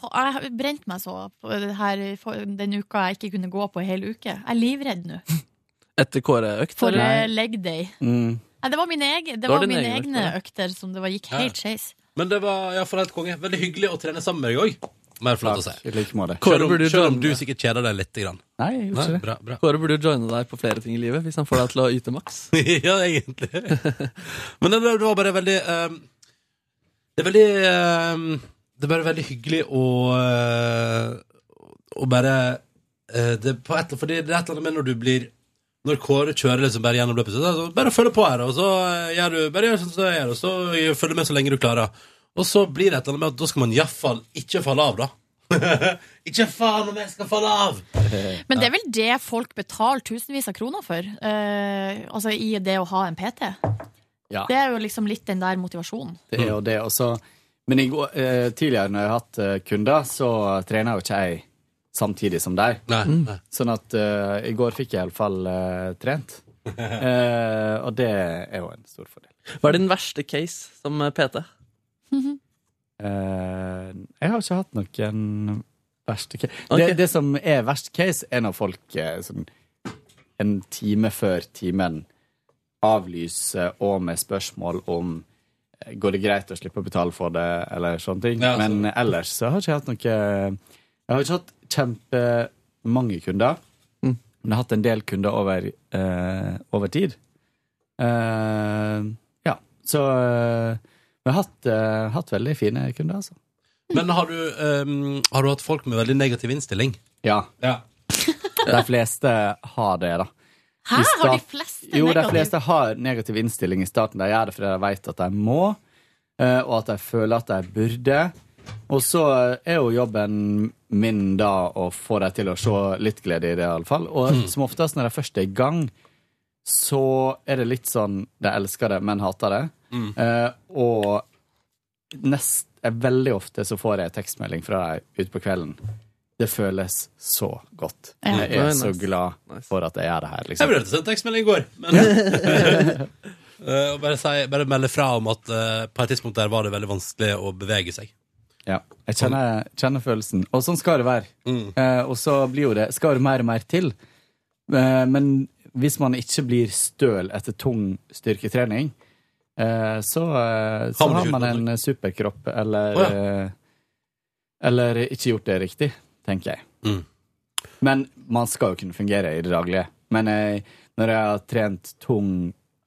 fa- jeg har brent meg så på det her for- den uka jeg ikke kunne gå på en hel uke. Jeg er livredd nå
Etter Kåre-økt?
for
eller?
eh, leg day.
Mm.
Nei, det var mine, egen, det
var
var
din
mine
egen økt,
egne
var
økter som det var, gikk
Ja.
helt skeis.
Men det var ja, for helt konge. Veldig hyggelig å trene sammen med deg òg. Mer flott å si.
I like måte.
Selv om, selv om du sikkert kjeder deg litt. Grann.
Nei, jeg gjorde ikke det.
Bra, bra.
Kåre burde jo joine deg på flere ting i livet hvis han får deg til å yte maks.
ja, egentlig. Men det, det var bare veldig ehm, Det er veldig ehm, Det er bare veldig hyggelig å eh, Å bare eh, det, er på et, eller- Fordi det er et eller annet med når du blir Når Kåre kjører liksom bare gjennom løpet så er det sånn, Bare følg på her, og så eh, gjør du Bare gjør sånn som jeg gjør, og så følg med så lenge du klarer. Og så blir det et eller annet med at da skal man iallfall ikke falle av, da. ikke faen om jeg skal falle av!
Men det er vel det folk betaler tusenvis av kroner for, eh, altså i det å ha en PT.
Ja.
Det er jo liksom litt den der motivasjonen.
Det er jo det også. Men i går, eh, tidligere når jeg har hatt eh, kunder, så trener jo ikke jeg samtidig som deg.
Nei, nei.
Sånn at eh, i går fikk jeg iallfall eh, trent. Eh, og det er jo en stor fordel.
Hva er din verste case som eh, PT?
Eh, jeg har ikke hatt noen verste case.
Ok.
Det, det som er verst case, er når folk eh, sånn en time før timen avlyser og med spørsmål om eh, Går det greit å slippe å betale for det, eller sånne ting.
Ja, altså.
Men ellers så har ikke jeg hatt noe Jeg har ikke hatt kjempemange kunder,
Mm.
men jeg har hatt en del kunder over, eh, over tid. Eh, ja, så eh, vi har hatt, eh, hatt veldig fine kunder, altså.
Men har du, ehm, har du hatt folk med veldig negativ innstilling?
Ja,
Ja.
de fleste har det, da.
Hæ, har
I
de
start-
fleste
Jo, de
negativ-
fleste har negativ innstilling i starten. De gjør det fordi de vet at de må, eh, og at de føler at de burde. Og så eh, er jo jobben min da å få dem til å se litt glede i det, iallfall. Og som oftest når de først er i gang, så er det litt sånn de elsker det, men hater det.
Mm.
Eh, og nest, eh, veldig ofte så får jeg tekstmelding fra dem utpå kvelden. Det føles så godt.
Ja.
Jeg er
Oi,
så
nice.
glad
Nice.
for at jeg gjør det her,
Jeg
liksom.
vurderte å sende tekstmelding i går. Men, Eh, og bare, si, bare melde fra om at eh, på et tidspunkt der var det veldig vanskelig å bevege seg.
Ja, jeg kjenner, kjenner følelsen. Og sånn skal det være.
Mm.
Eh, og så blir jo det skal det mer og mer til. Eh, men hvis man ikke blir støl etter tung styrketrening, eh, så, eh, så
Har man
har
ikke
man
gjort noe.
en superkropp, eller
Å,
eh, Eller ikke gjort det riktig, tenker jeg.
Mm.
Men man skal jo kunne fungere i det daglige. Men jeg, når jeg har trent tung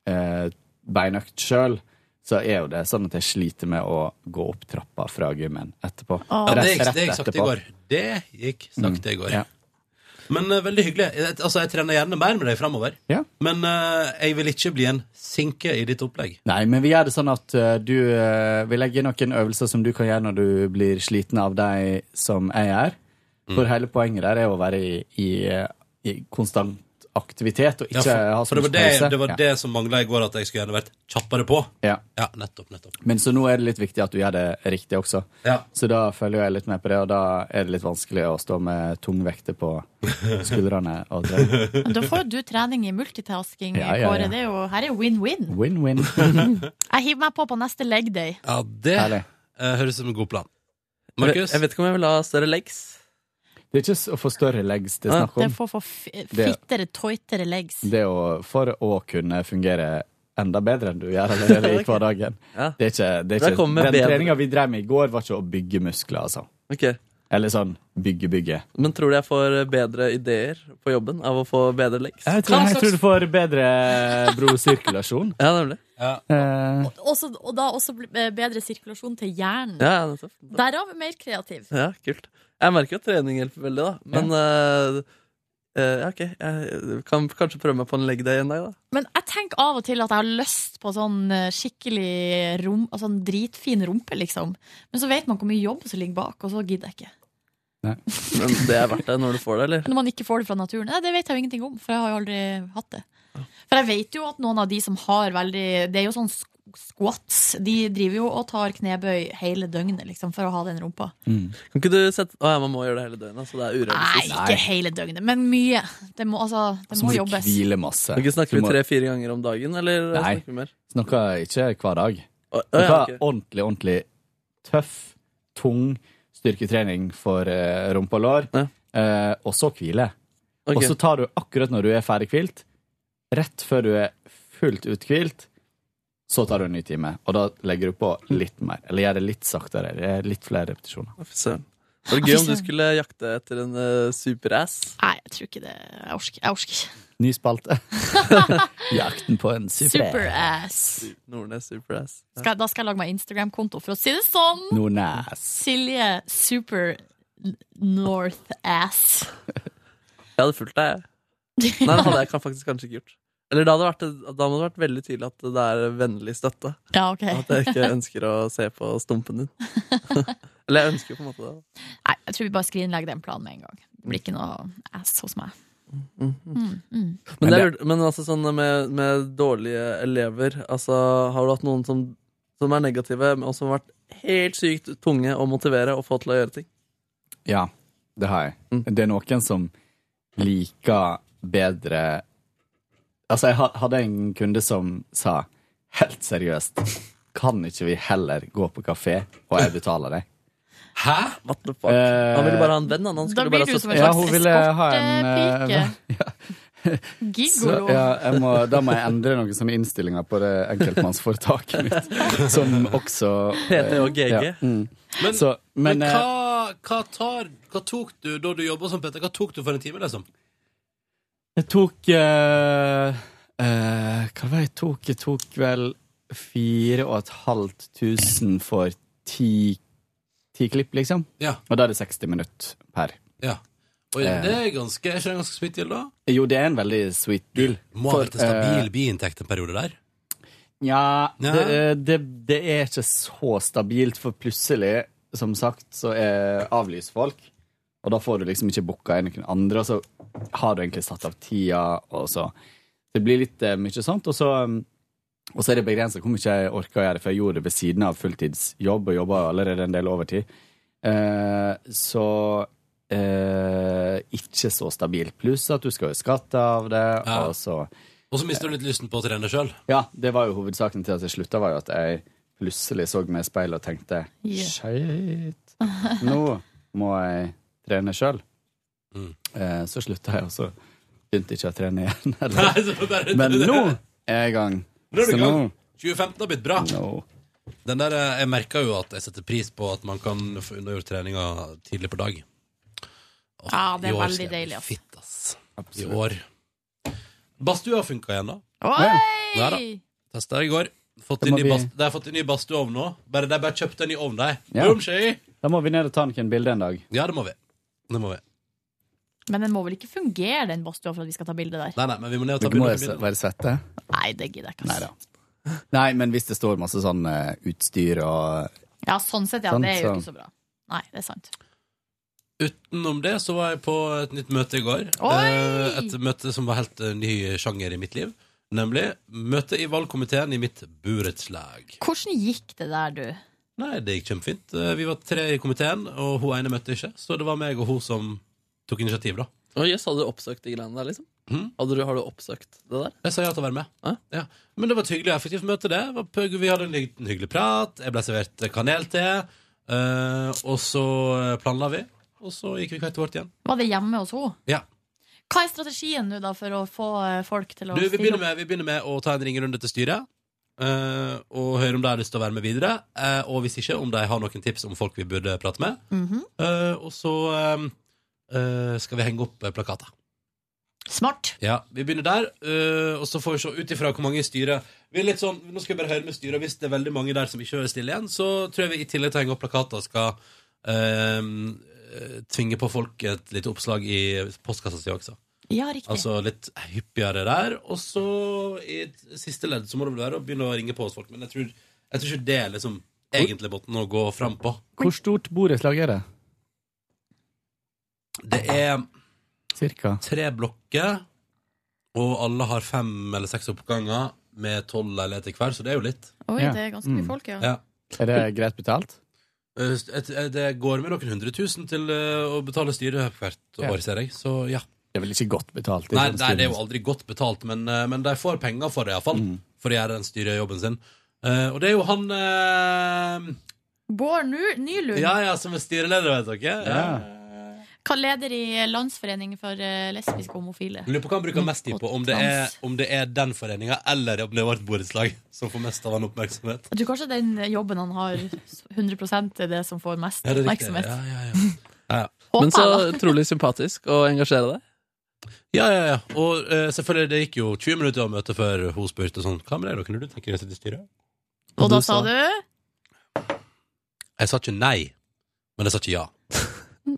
eh, beinøkt sjøl, så er jo det sånn at jeg sliter med å gå opp trappa fra gymmen etterpå.
Ja, det gikk, det gikk sakte i går. Det gikk sakte i går.
Mm, Ja.
Men eh, veldig hyggelig. Jeg, altså, jeg trener gjerne mer med deg framover.
Ja.
Men eh, jeg vil ikke bli en sinke i ditt opplegg.
Nei, men vi gjør det sånn at eh, du eh, Vi legger noen øvelser som du kan gjøre når du blir sliten av de som jeg er.
Mm.
For hele poenget der er å være i, i, eh, i konstant aktivitet og
Ja,
ikke
for,
ha så
for det
mye
var det,
pause.
det, var det som mangla i går, at jeg skulle gjerne vært kjappere på.
Ja. Ja.
Ja, nettopp, nettopp.
Men så nå er det litt viktig at du gjør det riktig også.
Ja.
Så da følger jeg litt med på det, og da er det litt vanskelig å stå med tung vekter på skuldrene og trene.
Men Da får jo du trening i multitasking,
Ja, ja, ja.
Kåre. Det er jo, her er jo win-win.
Win-win.
Jeg hiver meg på på neste leg day.
Ja, det
Herlig.
eh, høres ut som en god plan.
Jeg vet-
Markus?
Jeg vet ikke om jeg vil ha større legs.
Det er ikke så- å få større legs det er snakk
Det
om.
får få fi- fittere, toitere legs.
Det er jo for å kunne fungere enda bedre enn du gjør allerede i hverdagen. Det er ikke, det er
Da kommer
ikke, den
bedre.
treninga vi drev med i går, var ikke å bygge muskler, altså.
Ok.
Eller sånn bygge-bygge.
Men tror du jeg får bedre ideer på jobben av å få bedre legs?
Jeg tror, jeg tror du får bedre blodsirkulasjon.
Ja, nemlig.
Eh,
Også, og da også bl- eh, bedre sirkulasjon til hjernen.
Ja, nettopp.
Derav mer kreativ.
Ja, kult. Jeg merker jo at trening hjelper veldig, da. Men eh, eh, ja, ok, jeg kan kanskje prøve meg på en leg day en dag, da.
Men jeg tenker av og til at jeg har lyst på sånn eh, skikkelig rom, altså en dritfin rumpe, liksom. Men så vet man hvor mye jobb som ligger bak, og så gidder jeg ikke.
Men det er verdt det når du får det, eller?
Når man ikke får det fra naturen. Nei, det vet jeg jo ingenting om, for jeg har jo aldri hatt det. For jeg vet jo at noen av de som har veldig Det er jo sånn sk- squats. De driver jo og tar knebøy hele døgnet, liksom, for å ha den rumpa.
Kan ikke du sette Å ja, man må gjøre det hele døgnet, så det er
Nei,
urealistisk.
ikke hele døgnet, men mye. Det må, altså, det
så
må
må du
jobbes.
hvile masse.
Kan ikke
Du
snakke
må-
vi tre-fire ganger om dagen, eller
Nei.
snakker vi mer?
Snakker ikke hver dag.
Å, å,
Noe
ja, ok.
ordentlig, ordentlig tøff, tung styrketrening for eh, rumpe og lår, eh, og så hvile.
Ok.
Og så tar du akkurat når du er ferdig hvilt, rett før du er fullt uthvilt, så tar du en ny time, og da legger du på litt mer, eller gjør det litt saktere, det er litt flere repetisjoner.
Å, fy søren. Det var gøy om du skulle jakte etter en eh, superass.
Nei, jeg tror ikke det. Jeg orker, jeg orker ikke.
Ny spalte. Jakten på en super.
Superass.
Nordnes superass. Ja.
Skal, da skal jeg lage meg Instagram-konto, for å si det sånn.
Nordnes.
Silje Super North Ass.
Jeg hadde fulgt deg, jeg. Nei, det hadde jeg kan- faktisk kanskje ikke gjort. Eller da hadde, det vært, da hadde det vært veldig tydelig at det er vennlig støtte.
Ja, ok.
At jeg ikke ønsker å se på stumpen din. Eller jeg ønsker jo på en måte det.
Nei, jeg tror vi bare skrinlegger den planen med en gang. Det blir ikke noe ass hos meg. Mm, mm.
Men, det, er lurt- men altså sånn med, med dårlige elever altså, Har du hatt noen som, som er negative, og som har vært helt sykt tunge å motivere og få til å gjøre ting?
Ja, det har jeg.
Mm.
Det er noen som liker bedre Altså, jeg ha- hadde en kunde som sa helt seriøst Kan ikke vi heller gå på kafé, og jeg betaler deg?
Hæ?
What the fuck? Han ville bare ha en venn, han. han
Da
skulle
blir
bare
du
ha
som
sittet-
en
Ja,
slags
hun ville ha en eh,
eskortepike.
så,
Gigolo.
ja, jeg må, Da må jeg endre noen sånne innstillinger på det enkeltmannsforetaket mitt, som også
PT og GG.
ja, mm.
Men,
Så,
men,
men eh,
hva, hva, tar, hva tok du da du jobba som Petter? Hva tok du for en time, liksom?
Jeg tok eh, eh, Hva var det jeg tok? Jeg tok vel fire og et halvt tusen for ti, ti klipp, liksom.
Ja.
Og da er det 60 minutter per.
ja. Oi,
Eh.
det er ganske, er ikke det ganske sweet deal, da?
Jo, det er en veldig sweet deal.
Må ha
For,
vært en stabil
eh,
biinntekt en periode der.
Ja,
Ja.
Det, eh, det, det er ikke så stabilt, for plutselig, som sagt, så er avlyser folk. Og da får du liksom ikke booka inn noen andre, og så har du egentlig satt av tida, og så Det blir litt eh, mye sånt. Og så, um, og så er det begrensa hvor mye jeg orker å gjøre, for jeg gjorde det ved siden av fulltidsjobb, og jobba allerede en del overtid. Eh, så eh, ikke så stabilt. Pluss at du skal jo skatte av det,
Ja.
og så
Og så mister du litt lysten på å trene sjøl.
ja, det var jo hovedsaken til at jeg slutta, var jo at jeg plutselig så meg i speilet og tenkte
Ja.
Shit, nå må jeg trene sjøl.
Mm.
Eh, så slutta jeg, og så begynte jeg ikke å trene igjen. Eller. Men
Men
nå er jeg i gang.
Nå er du i
Så nå,
gang. 2015 har blitt bra.
nå
Den der, eh, jeg merker jo at jeg setter pris på at man kan få unnagjort treninga tidlig på dag. Åh,
Ja, det er
i år
veldig
skal jeg bli
deilig, ass.
Fitt, ass. I
Absolutt.
år. Badstua funka igjen, da. Ja da.
Oi!
Testa i går. Fått
Det
inn
må
ny
bli-
bas- De har fått inn ny badstueovn nå. Bare, de bare kjøpte en ny ovn, de.
Ja.
Boom, skje.
Da må vi ned og ta noen bilder en dag.
Ja, det må vi. Det må vi.
Men den må vel ikke fungere, den badstua, for at vi skal ta bilde der?
Nei, nei, men vi må ned og ta
Dere må
bilder.
jo se- være svette.
Nei, det gidder jeg ikke.
Nei
ass.
da. Nei, men hvis det står masse sånn eh, utstyr og
Ja, sånn sett, ja.
Sant,
Det er jo
sant.
ikke så bra. Nei, det er sant.
Utenom det så var jeg på et nytt møte i går.
Oi!
Eh, Et møte som var helt eh, ny sjanger i mitt liv. Nemlig møte i valgkomiteen i mitt burettslag.
Hvordan gikk det der, du?
Nei, det gikk kjempefint. Eh, Vi var tre i komiteen, og hun ene møtte ikke. Så det var meg og hun som tok initiativ, da.
Å, jøss, hadde du oppsøkt de greiene der, liksom?
Hm?
Mhm.
Hadde du, har du oppsøkt det der?
Jeg sa ja til å være med.
Hæ?
Ja. Men det var et hyggelig og effektivt møte, det. Det var pøgg, Vi hadde en hygg- en hyggelig prat. Jeg ble servert kanelte. eh, og så planla vi, og så gikk vi hvert vårt igjen.
Var det hjemme hos henne?
Ja.
Hva er strategien nå da for å få eh, folk til å
Du, vi,
stille
begynner med,
opp?
vi begynner med å ta en ringerunde til styret. eh, og høre om de har lyst til å være med videre. eh, og hvis ikke, om de har noen tips om folk vi burde prate med.
Mhm.
Eh, og så eh, eh, skal vi henge opp eh, plakater.
Smart.
Ja, Vi begynner der, eh, og så får vi se ut ifra hvor mange i styret vi er litt sånn, Nå skal vi bare høre med styret. Hvis det er veldig mange der som ikke hører stille igjen, så tror jeg vi i tillegg til å henge opp plakater skal eh, eh, tvinge på folk et lite oppslag i postkassa si også.
Ja, riktig.
Altså litt hyppigere der. Og så i et siste ledd så må det vel være å begynne å ringe på hos folk. Men jeg tror, jeg tror ikke det er liksom egentlig måten å gå fram på.
Hvor stort borettslag er det?
Det er
Cirka.
tre blokker, og alle har fem eller seks oppganger med tolv leiligheter hver, så det er jo litt.
Oi,
Ja.
det er ganske mye
Mm.
folk, ja.
Ja.
Er det greit betalt?
Eh, et- eh, Det går med noen hundre tusen til eh, å betale styret hvert
Ja.
år, ser jeg. Så ja.
Det er vel ikke godt betalt? sånn
Nei, nei, det er jo aldri godt betalt, men, eh, men de får penger for det, iallfall.
Mm.
For å gjøre den styrejobben sin. Eh, og det er jo han eh,
Bård Nu- Nylund,
Ja, ja, som er styreleder, vet dere. Eh, Ja.
hva leder i Landsforening for eh, lesbiske og homofile?
Lurer på hva han bruker mest tid på, om det er, om det er den foreninga eller om det var et borettslag som får mest av han oppmerksomhet.
Jeg tror kanskje den jobben han har, 100 er det som får mest
Er det riktig?
oppmerksomhet.
Ja, ja, ja. Ja, ja.
Håper
Men så
jeg, da.
utrolig sympatisk å engasjere deg.
Ja, ja, ja. Og eh, selvfølgelig, det gikk jo 20 minutter av møtet før hun spurte sånn Hva med deg, da? Kunne du tenke deg å sitte i styret?
Og da sa du
Jeg sa ikke nei, men jeg sa ikke ja.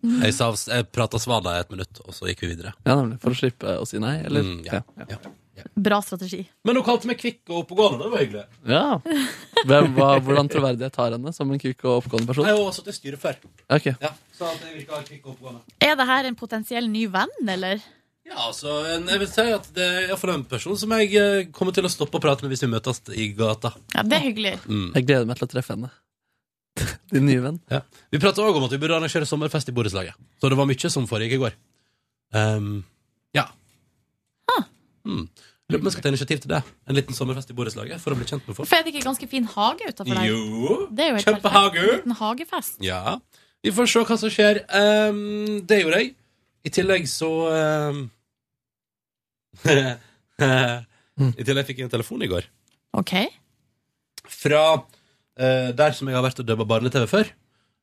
Jeg, sa- jeg prata svada i et minutt, og så gikk vi videre.
Ja, nemlig, For å slippe å si nei, eller?
Mm, ja, ja.
bra strategi.
Men hun kalte meg kvikk og oppegående. Det var hyggelig.
Ja. Hvem, hva, hvordan troverdighet har henne som en kuk og oppegående person?
Jeg har også sittet i styret før.
Ok,
Ja, sa at jeg virka kvikk og oppegående.
Er det her en potensiell ny venn, eller?
Ja, altså, en, jeg vil si at det er iallfall en person som jeg eh, kommer til å stoppe og prate med hvis vi møtes i gata.
Ja, det er hyggelig.
Jeg gleder meg til å treffe henne. Din nye venn.
Ja. Vi prata òg om at vi burde arrangere sommerfest i borettslaget. Så det var mye som foregikk i går. Ehm, ja. Mm. Lurer på om jeg skal ta initiativ til det. En liten sommerfest i borettslaget for å bli kjent med folk.
Hvorfor er det ikke ganske fin hage utafor der?
Jo,
Det er jo helt
kjempehage!
En hagefest.
Ja. Vi får se hva som skjer. Ehm, det gjorde jeg. I tillegg så ehm, I tillegg fikk jeg en telefon i går.
OK.
fra eh, der som jeg har vært og dubba barne-TV før,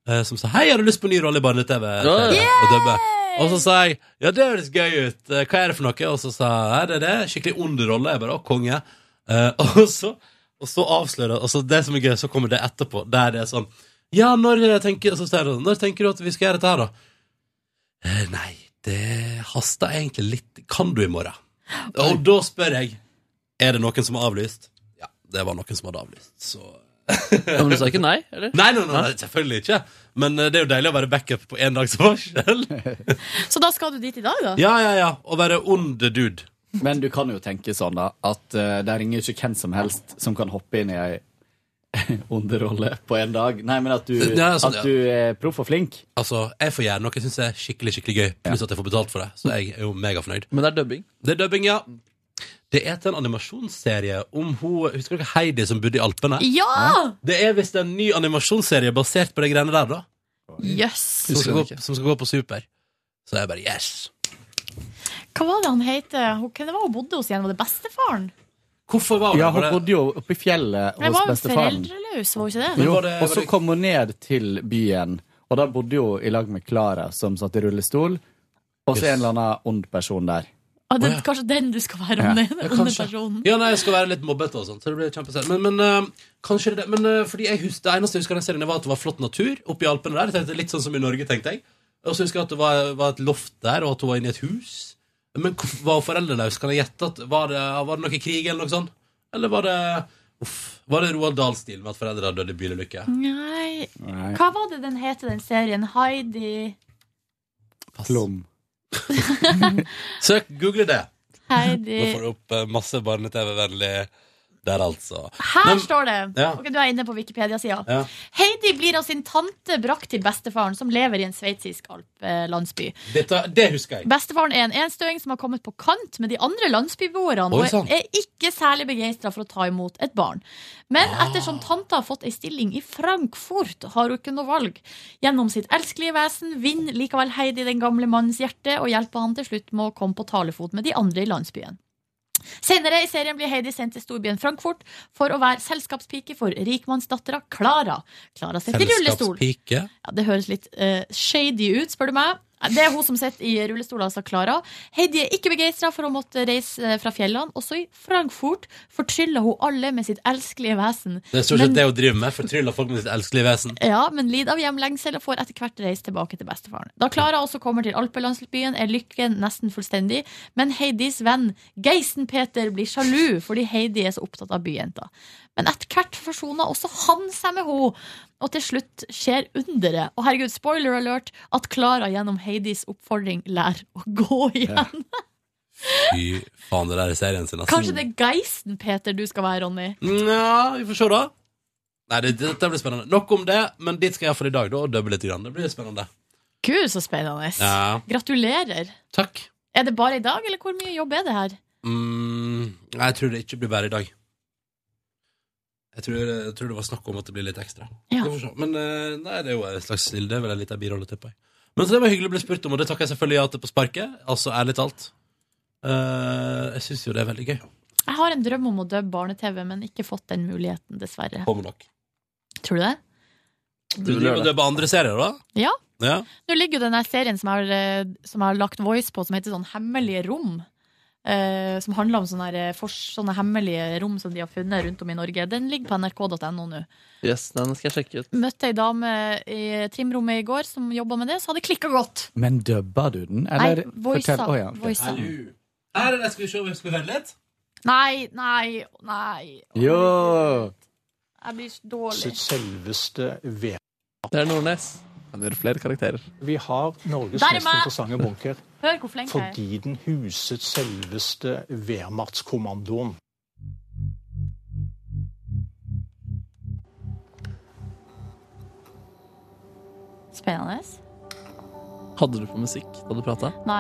eh, som sa 'Hei, har du lyst på en ny rolle i barne-TV?'
Ja.
eh, å dubbe? Og så sa jeg 'Ja, det høres gøy ut. Eh, Hva er det for noe?' Og så sa jeg «Nei, 'Det er det. Skikkelig ond rolle.' Jeg bare 'Å, konge'. Eh, og så og så avslører altså Det som er gøy, så kommer det etterpå, der det er sånn 'Ja, når eh, tenker, så sier jeg, når tenker du at vi skal gjøre dette her, da?' «Eh, nei, det haster egentlig litt. Kan du i morgen? Og da spør jeg Er det noen som har avlyst? Ja, det var noen som hadde avlyst, så
Ja, men du sa ikke nei, eller?
Nei, nei, nei, nei, selvfølgelig ikke. Men eh, det er jo deilig å være backup på én dags varsel.
Så da skal du dit i dag, da?
Ja, ja, ja. Å være ond dude.
Men du kan jo tenke sånn, da, at eh, det ringer jo ikke hvem som helst som kan hoppe inn i ei underrolle på en dag. Nei, men at du,
Ja, sånn, ja.
at du er proff og flink.
Altså, jeg får gjøre noe jeg syns er skikkelig skikkelig gøy, pluss at jeg får betalt for det. Så jeg er jo megafornøyd.
Men det er dubbing.
Det er dubbing, ja. Det er til en animasjonsserie om hun Husker dere Heidi som bodde i Alpene?
Ja!
Det er visst en ny animasjonsserie basert på de greiene der, da.
Jøss.
Som
Husker
skal,
den
gå, som skal gå på Super. Så jeg bare yes.
Hva var det han het? Hvem det var hun bodde hos igjen? Var det bestefaren?
Hvorfor var hun
Ja,
der?
hun
Var det?
bodde jo oppe i fjellet
Det
hos
var jo
bestefaren.
foreldreløs, var hun ikke det?
Jo,
var det-
og
var
så
det-
kom hun ned til byen, og da bodde hun i lag med Klara, som satt i rullestol, og
Yes.
så en eller annen ond person der.
Ah, det
Å,
er
ja.
kanskje den du skal være
Ja.
om, den onde
kanskje.
personen.
Ja, nei, jeg skal være litt mobbet og sånt, så det blir kjempesent. Men, men eh, kanskje det Men eh, fordi jeg husker, det eneste jeg husker av den serien, var at det var flott natur oppe i Alpene der. Jeg tenkte Litt sånn som i Norge, tenkte jeg. Og så husker jeg at det var, var et loft der, og at hun var inne i et hus. Men hvor- var hun foreldreløs? Kan jeg gjette at var det, var det noe krig eller noe sånt? Eller var det Uff. Var det Roald Dahl-stil med at foreldre døde i bilulykke?
Nei
Nei,
Hva var det den het, den serien? Heidi
Pass.
Klum.
Søk, google det. Nå
Heidi
får du opp eh, masse barne-TV-vennlig Der, altså.
Her
Men-
står det.
Ja.
Ok, Du er inne på Wikipedia-sida.
Ja.
Heidi blir av sin tante brakt til bestefaren, som lever i en sveitsisk alpelandsby.
Dette, det husker jeg.
Bestefaren er en enstøing som har kommet på kant med de andre landsbyboerne
Oi,
og
sann.
er ikke særlig begeistra for å ta imot et barn. Men ettersom tanta har fått ei stilling i Frankfurt, har hun ikke noe valg. Gjennom sitt elskelige vesen vinner likevel Heidi den gamle mannens hjerte og hjelper han til slutt med å komme på talefot med de andre i landsbyen. Senere i serien blir Heidi sendt til storbyen Frankfurt for å være selskapspike for rikmannsdattera Klara. Klara sitter i rullestol.
Selskapspike.
Ja, det høres litt eh, shady ut, spør du meg. Det er hun som sitter i rullestol, altså Klara. Heidi er ikke begeistra for å måtte reise eh, fra fjellene. Også i Frankfurt fortryller hun alle med sitt elskelige vesen.
Det er stort sett
Men-
det hun driver med. Fortryller folk med sitt elskelige vesen.
ja, men lider av hjemlengsel og får etter hvert reise tilbake til bestefaren. Da Klara også kommer til alpelandsbyen, er lykken nesten fullstendig, men Heidis venn Geisen-Peter blir sjalu fordi Heidi er så opptatt av byjenta. Men etter hvert forsoner også han seg med henne, og til slutt skjer underet. Og herregud, spoiler alert, at Klara gjennom Heidis oppfordring lærer å gå igjen.
Fy faen, det der er serien sin, altså.
Kanskje det er Geisen-Peter du skal være, Ronny?
Nja, vi får se, da. Nei, det, det, det blir spennende. Nok om det, men dit skal jeg for i dag, da, og dubbe litt. Grann. Det blir spennende.
Gud, så spennende.
Ja.
Gratulerer.
Takk.
Er det bare i dag, eller hvor mye jobb er det her?
Mm, nei, jeg tror det ikke blir bare i dag. Jeg tror, jeg tror det var snakk om at det blir litt ekstra.
Ja.
Vi får se. Men eh, nei, det er jo en slags Det er vel en liten birolle, tipper jeg. Men så det var hyggelig å bli spurt om, og det takker jeg selvfølgelig ja til på sparket. Altså ærlig talt. Eh, jeg syns jo det er veldig gøy.
Jeg har en drøm om å dubbe barne-TV, men ikke fått den muligheten, dessverre.
Kommer nok.
Tror du det?
Du driver og dubber andre serier, da?
Ja.
Ja.
Nå ligger jo den der serien som jeg, har, eh, som jeg har lagt voice på, som heter sånn Hemmelige rom. eh, som handler om sånne, her, eh, fors- sånne hemmelige rom som de har funnet rundt om i Norge. Den ligger på nrk.no nå.
Yes, den skal jeg sjekke ut.
Møtte ei dame i trimrommet i går som jobba med det, så hadde klikka godt.
Men dubba du den, eller?
Nei, voisa.
fortell- Å, ja, ok.
Voisa.
Hallo. Her er det, skal vi se om vi skal høre litt?
Nei, nei, nei.
Jo!
Jeg blir så dårlig.
selveste ved.
Det er Nordnes. Han gjør flere karakterer.
Vi har Norges
Der er
mest
meg!
interessante bunker
Hør hvor flink jeg er.
fordi den huset selveste Wehrmachtskommandoen.
Spennende.
Hadde du på musikk da du prata?
Nei.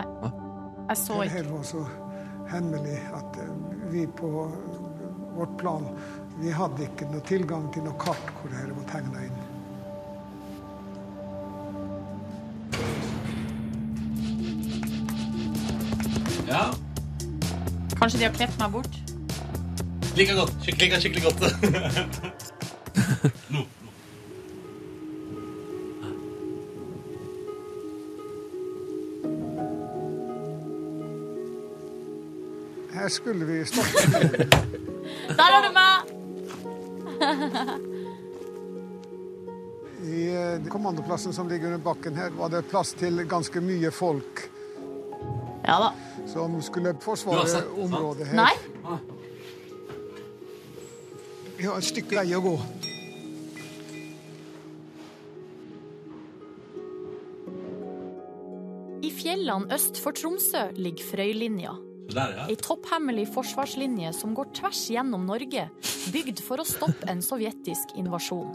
Jeg så
Det
ikke.
her var så hemmelig at eh, vi på vårt plan vi hadde ikke noe tilgang til noe kart hvor det her var tegna inn.
Ja.
Kanskje de har klept meg bort?
Klikker godt. Klikker skikkelig godt. Nå.
Her skulle vi stoppe.
Der har du meg!
I eh, kommandoplassen som ligger under bakken her, var det plass til ganske mye folk.
Ja da.
Som skulle
Du har
forsvare
sett det, sant?
området her.
Nei.
Vi har et stykke vei å gå.
I fjellene øst for Tromsø ligger Frøylinja.
Der, ja.
Ei topphemmelig forsvarslinje som går tvers gjennom Norge, bygd for å stoppe en sovjetisk invasjon.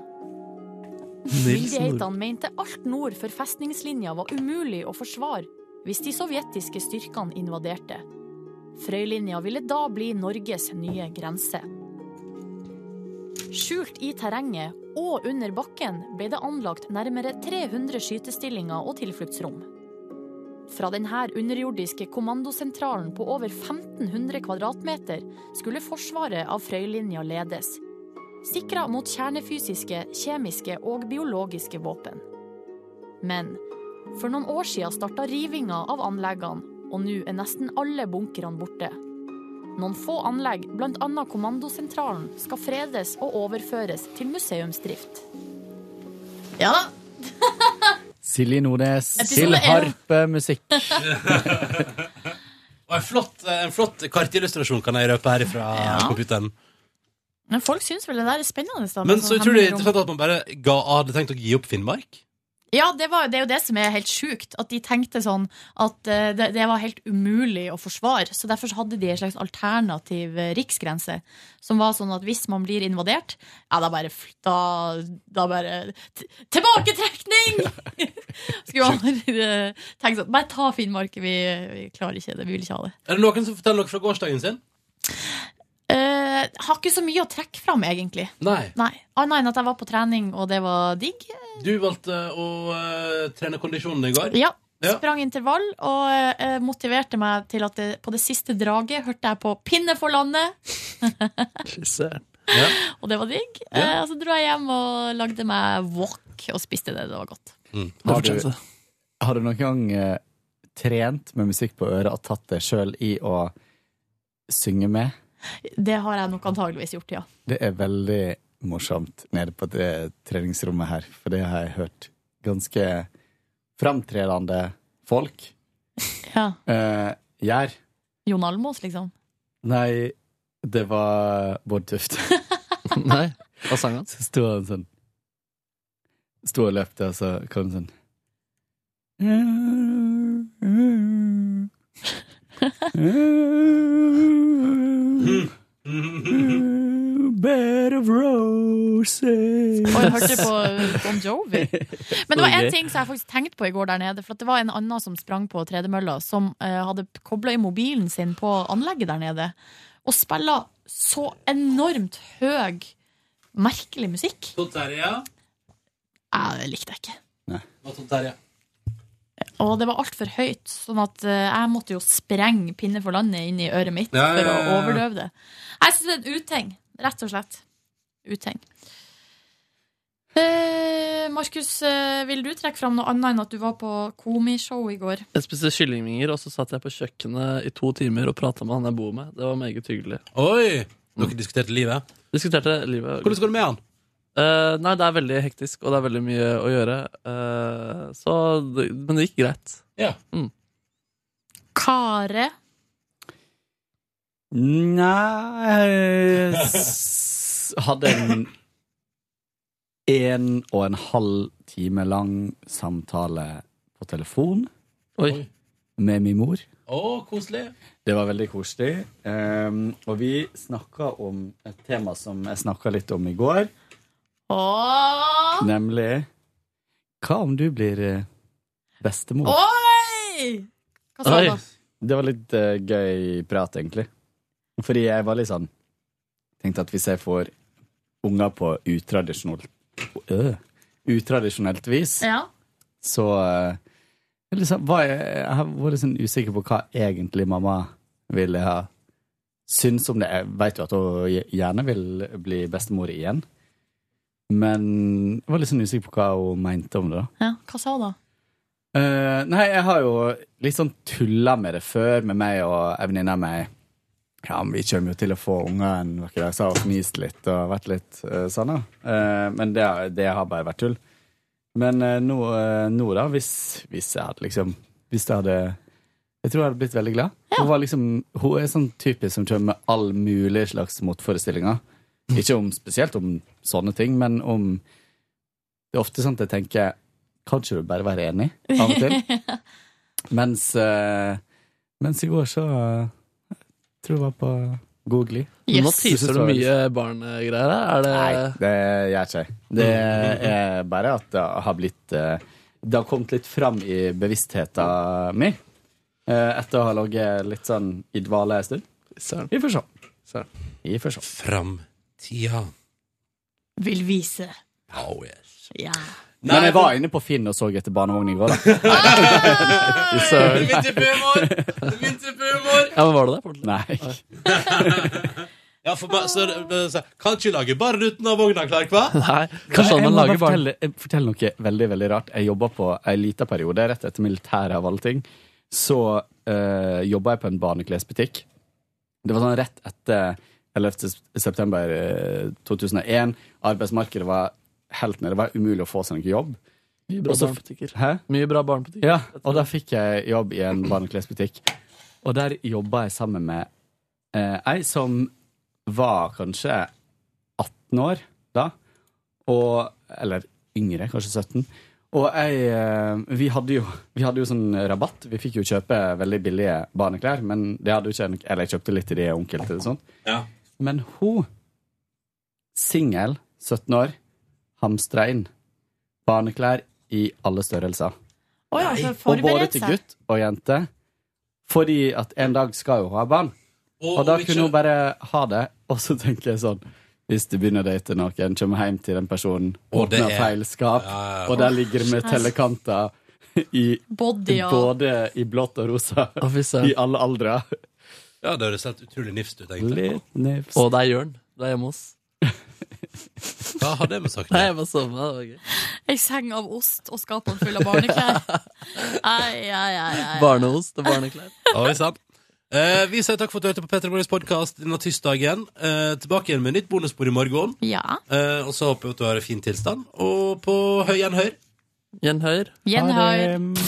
Nils Nord.
Myndighetene mente alt nord for festningslinja var umulig å forsvare hvis de sovjetiske styrkene invaderte. Frøylinja ville da bli Norges nye grense. Skjult i terrenget og under bakken ble det anlagt nærmere 300 skytestillinger og tilfluktsrom. Fra denne underjordiske kommandosentralen på over 1500 kvadratmeter skulle forsvaret av Frøylinja ledes, sikra mot kjernefysiske, kjemiske og biologiske våpen. Men for noen år siden starta rivinga av anleggene, og nå er nesten alle bunkerne borte. Noen få anlegg, bl.a. kommandosentralen, skal fredes og overføres til museumsdrift. Ja da,
Silje Nordnes
Episode
til
én.
harpemusikk.
Og en flott, eh, en flott kartillustrasjon kan jeg røpe herifra computeren.
Men folk syns vel det der er spennende? da, med
Men
sånn
så utrolig
hemmelig rom.
interessant at man bare ga, hadde tenkt å gi opp Finnmark.
Ja, det, var, det er jo det som er helt sjukt. At de tenkte sånn at eh, det, det var helt umulig å forsvare. Så derfor så hadde de en slags alternativ eh, riksgrense. Som var sånn at hvis man blir invadert, ja, da bare fl- Da, da bare t- Tilbaketrekning! Skulle man eh, tenke sånn Bare ta Finnmark, vi, vi klarer ikke det. Vi vil ikke ha det.
Er det noen som forteller noe fra gårsdagen sin?
Eh, har ikke så mye å trekke fram, egentlig.
Nei.
Nei. Annet enn at jeg var på trening, og det var digg.
Du valgte å eh, trene kondisjonen i går.
Ja. Sprang intervall og eh, motiverte meg til at det, på det siste draget hørte jeg på 'Pinne for landet', og det var digg.
Ja.
Eh, og så dro jeg hjem og lagde meg wok og spiste det. Det var godt.
Har du, har du noen gang eh, trent med musikk på øret og tatt deg sjøl i å synge med?
Det har jeg nok antageligvis gjort, ja.
Det er veldig morsomt nede på det treningsrommet her, for det har jeg hørt ganske framtredende folk
ja.
eh, gjør.
Jon Almaas, liksom.
Nei, det var Bård Tufte. Nei, hva sang han? Så sto han sånn Sto og løp der, og så kom han sånn Bed of roses
Og jeg hørte på Bon Jovi. Men det var
Ok.
en ting som jeg faktisk tenkte på i går der nede. For at det var en annen som sprang på tredemølla, som eh, hadde kobla i mobilen sin på anlegget der nede. Og spilla så enormt høy, merkelig musikk.
Tom Terje.
Eh, Det likte jeg ikke.
Og Tom Terje.
Og det var altfor høyt, sånn at eh, jeg måtte jo sprenge pinne for landet inn i øret mitt
Ja, ja,
for å
ja, ja.
overdøve det. Jeg syns det er en uting, rett og slett. Uting. Eh, Markus, eh, vil du trekke fram noe annet enn at du var på komishow i går?
Jeg spiste kyllingvinger, og så satt jeg på kjøkkenet i to timer og prata med han jeg bor med. Det var meget hyggelig.
Oi! Dere diskuterte livet?
Diskuterte livet. Eh,
Hvordan går det med han?
nei, det er veldig hektisk, og det er veldig mye å gjøre. Eh, så det, Men det gikk greit.
Ja.
Mm.
Kare.
Nei s- Hadde en en og en halv time lang samtale på telefon
Oi.
med min mor.
Å, koselig.
Det var veldig koselig. Ehm, og vi snakka om et tema som jeg snakka litt om i går,
Åh!
nemlig Hva om du blir eh, bestemor?
Oi! Hva sa du da?
Det var litt eh, gøy prat, egentlig. Fordi jeg var litt sånn Tenkte at hvis jeg får unger på utradisjonelt øh, Utradisjonelt vis,
Ja.
så eh, liksom, var jeg, jeg har vært litt sånn usikker på hva egentlig mamma ville ha syns om det. Jeg veit jo at hun gjerne vil bli bestemor igjen, men jeg var litt sånn usikker på hva hun mente om det. da.
ja. Hva sa hun da?
Eh, nei, jeg har jo litt sånn tulla med det før, med meg og ei venninne av meg. Ja, men vi kommer jo til å få unger en vakker dag, så har hun fnist litt og vært litt eh, sånn, da. Eh, men det, har- det har bare vært tull. Men eh, nå, eh, nå, da, hvis, hvis jeg hadde liksom Hvis jeg hadde Jeg tror jeg hadde blitt veldig glad. Hun, var liksom, hun er sånn typisk som kommer med all mulig slags motforestillinger. Ikke om, spesielt om sånne ting, men om Det er ofte sånn at jeg tenker Kan ikke du bare være enig? Av og til. Mens, eh, mens i går så eh, Jeg tror jeg var på god glid.
Men Nå teaser du mye barnegreier her. Er det
Nei, det gjør ikke jeg. Det er bare at det har blitt eh, Det har kommet litt fram i bevisstheten min. eh, Etter å ha ligget litt sånn i dvale en stund. Vi får se. Vi får se.
Framtida.
Vil vise.
Oh, yes.
Ja.
Men jeg var inne på Finn og så etter barnevogn i går, da. Fy søren.
Ja, men var det det? Portland?
Nei.
ja, for meg, så, så, kan ikke lage barn uten av vogna, Clark, hva?
Nei, jeg må bare fortelle, jeg- fortelle noe veldig veldig rart. Jeg jobba på en liten periode, rett etter militæret av alle ting, så uh, jobba jeg på en barneklesbutikk. Det var sånn rett etter 11. september eh, 2001. Arbeidsmarkedet var helt nede. Det var umulig å få seg noe jobb.
Mye bra
Og så-
barnebutikker.
Hæ?
Mye bra barnebutikker.
Ja, og da fikk jeg jobb i en barneklesbutikk. Og der jobba jeg sammen med eh, ei som var kanskje 18 år da, og, eller yngre, kanskje 17, Og jeg, eh, vi, hadde jo, vi hadde jo sånn rabatt. Vi fikk jo kjøpe veldig billige barneklær. Men det hadde jo ikke, nok- eller jeg kjøpte litt til de onkel til og sånt. Men hun, singel, 17 år, hamstra inn barneklær i alle størrelser.
Å ja, så
Og både
forberedt
til
seg.
gutt og jente. Fordi at en dag skal jo hun ha barn.
Og,
Og, da
og ikke-
kunne hun bare ha det. Og så tenker jeg sånn Hvis du begynner å date noen, kommer hjem til den personen,
Og det
åpner
er-
feil skap,
ja.
og der ligger det med
Åh,
tellekanter i
Body og-
Både i blått og rosa.
søren.
I alle aldre.
Ja, det høres helt utrolig nifst ut, egentlig.
Litt nifst.
Og det er Jørn. Det er hjemme hos.
Hva har det med saken
Nei, jeg bare sovna. Det var gøy.
Ei seng av ost og skapene fulle av barneklær. Ai, ai, ai, ai.
Barneost og barneklær.
Oi sann. Eh, vi sier takk for at du hørte på Petter Morgens podkast denne tirsdagen. Eh, tilbake igjen med nytt bonusspor i morgen.
Ja.
Eh, og så håper jeg at du har en fin tilstand. Og på høy gjenhør.
Gjenhør.
Gjenhør.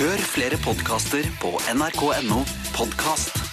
Hør flere podkaster på nrk.no podkast.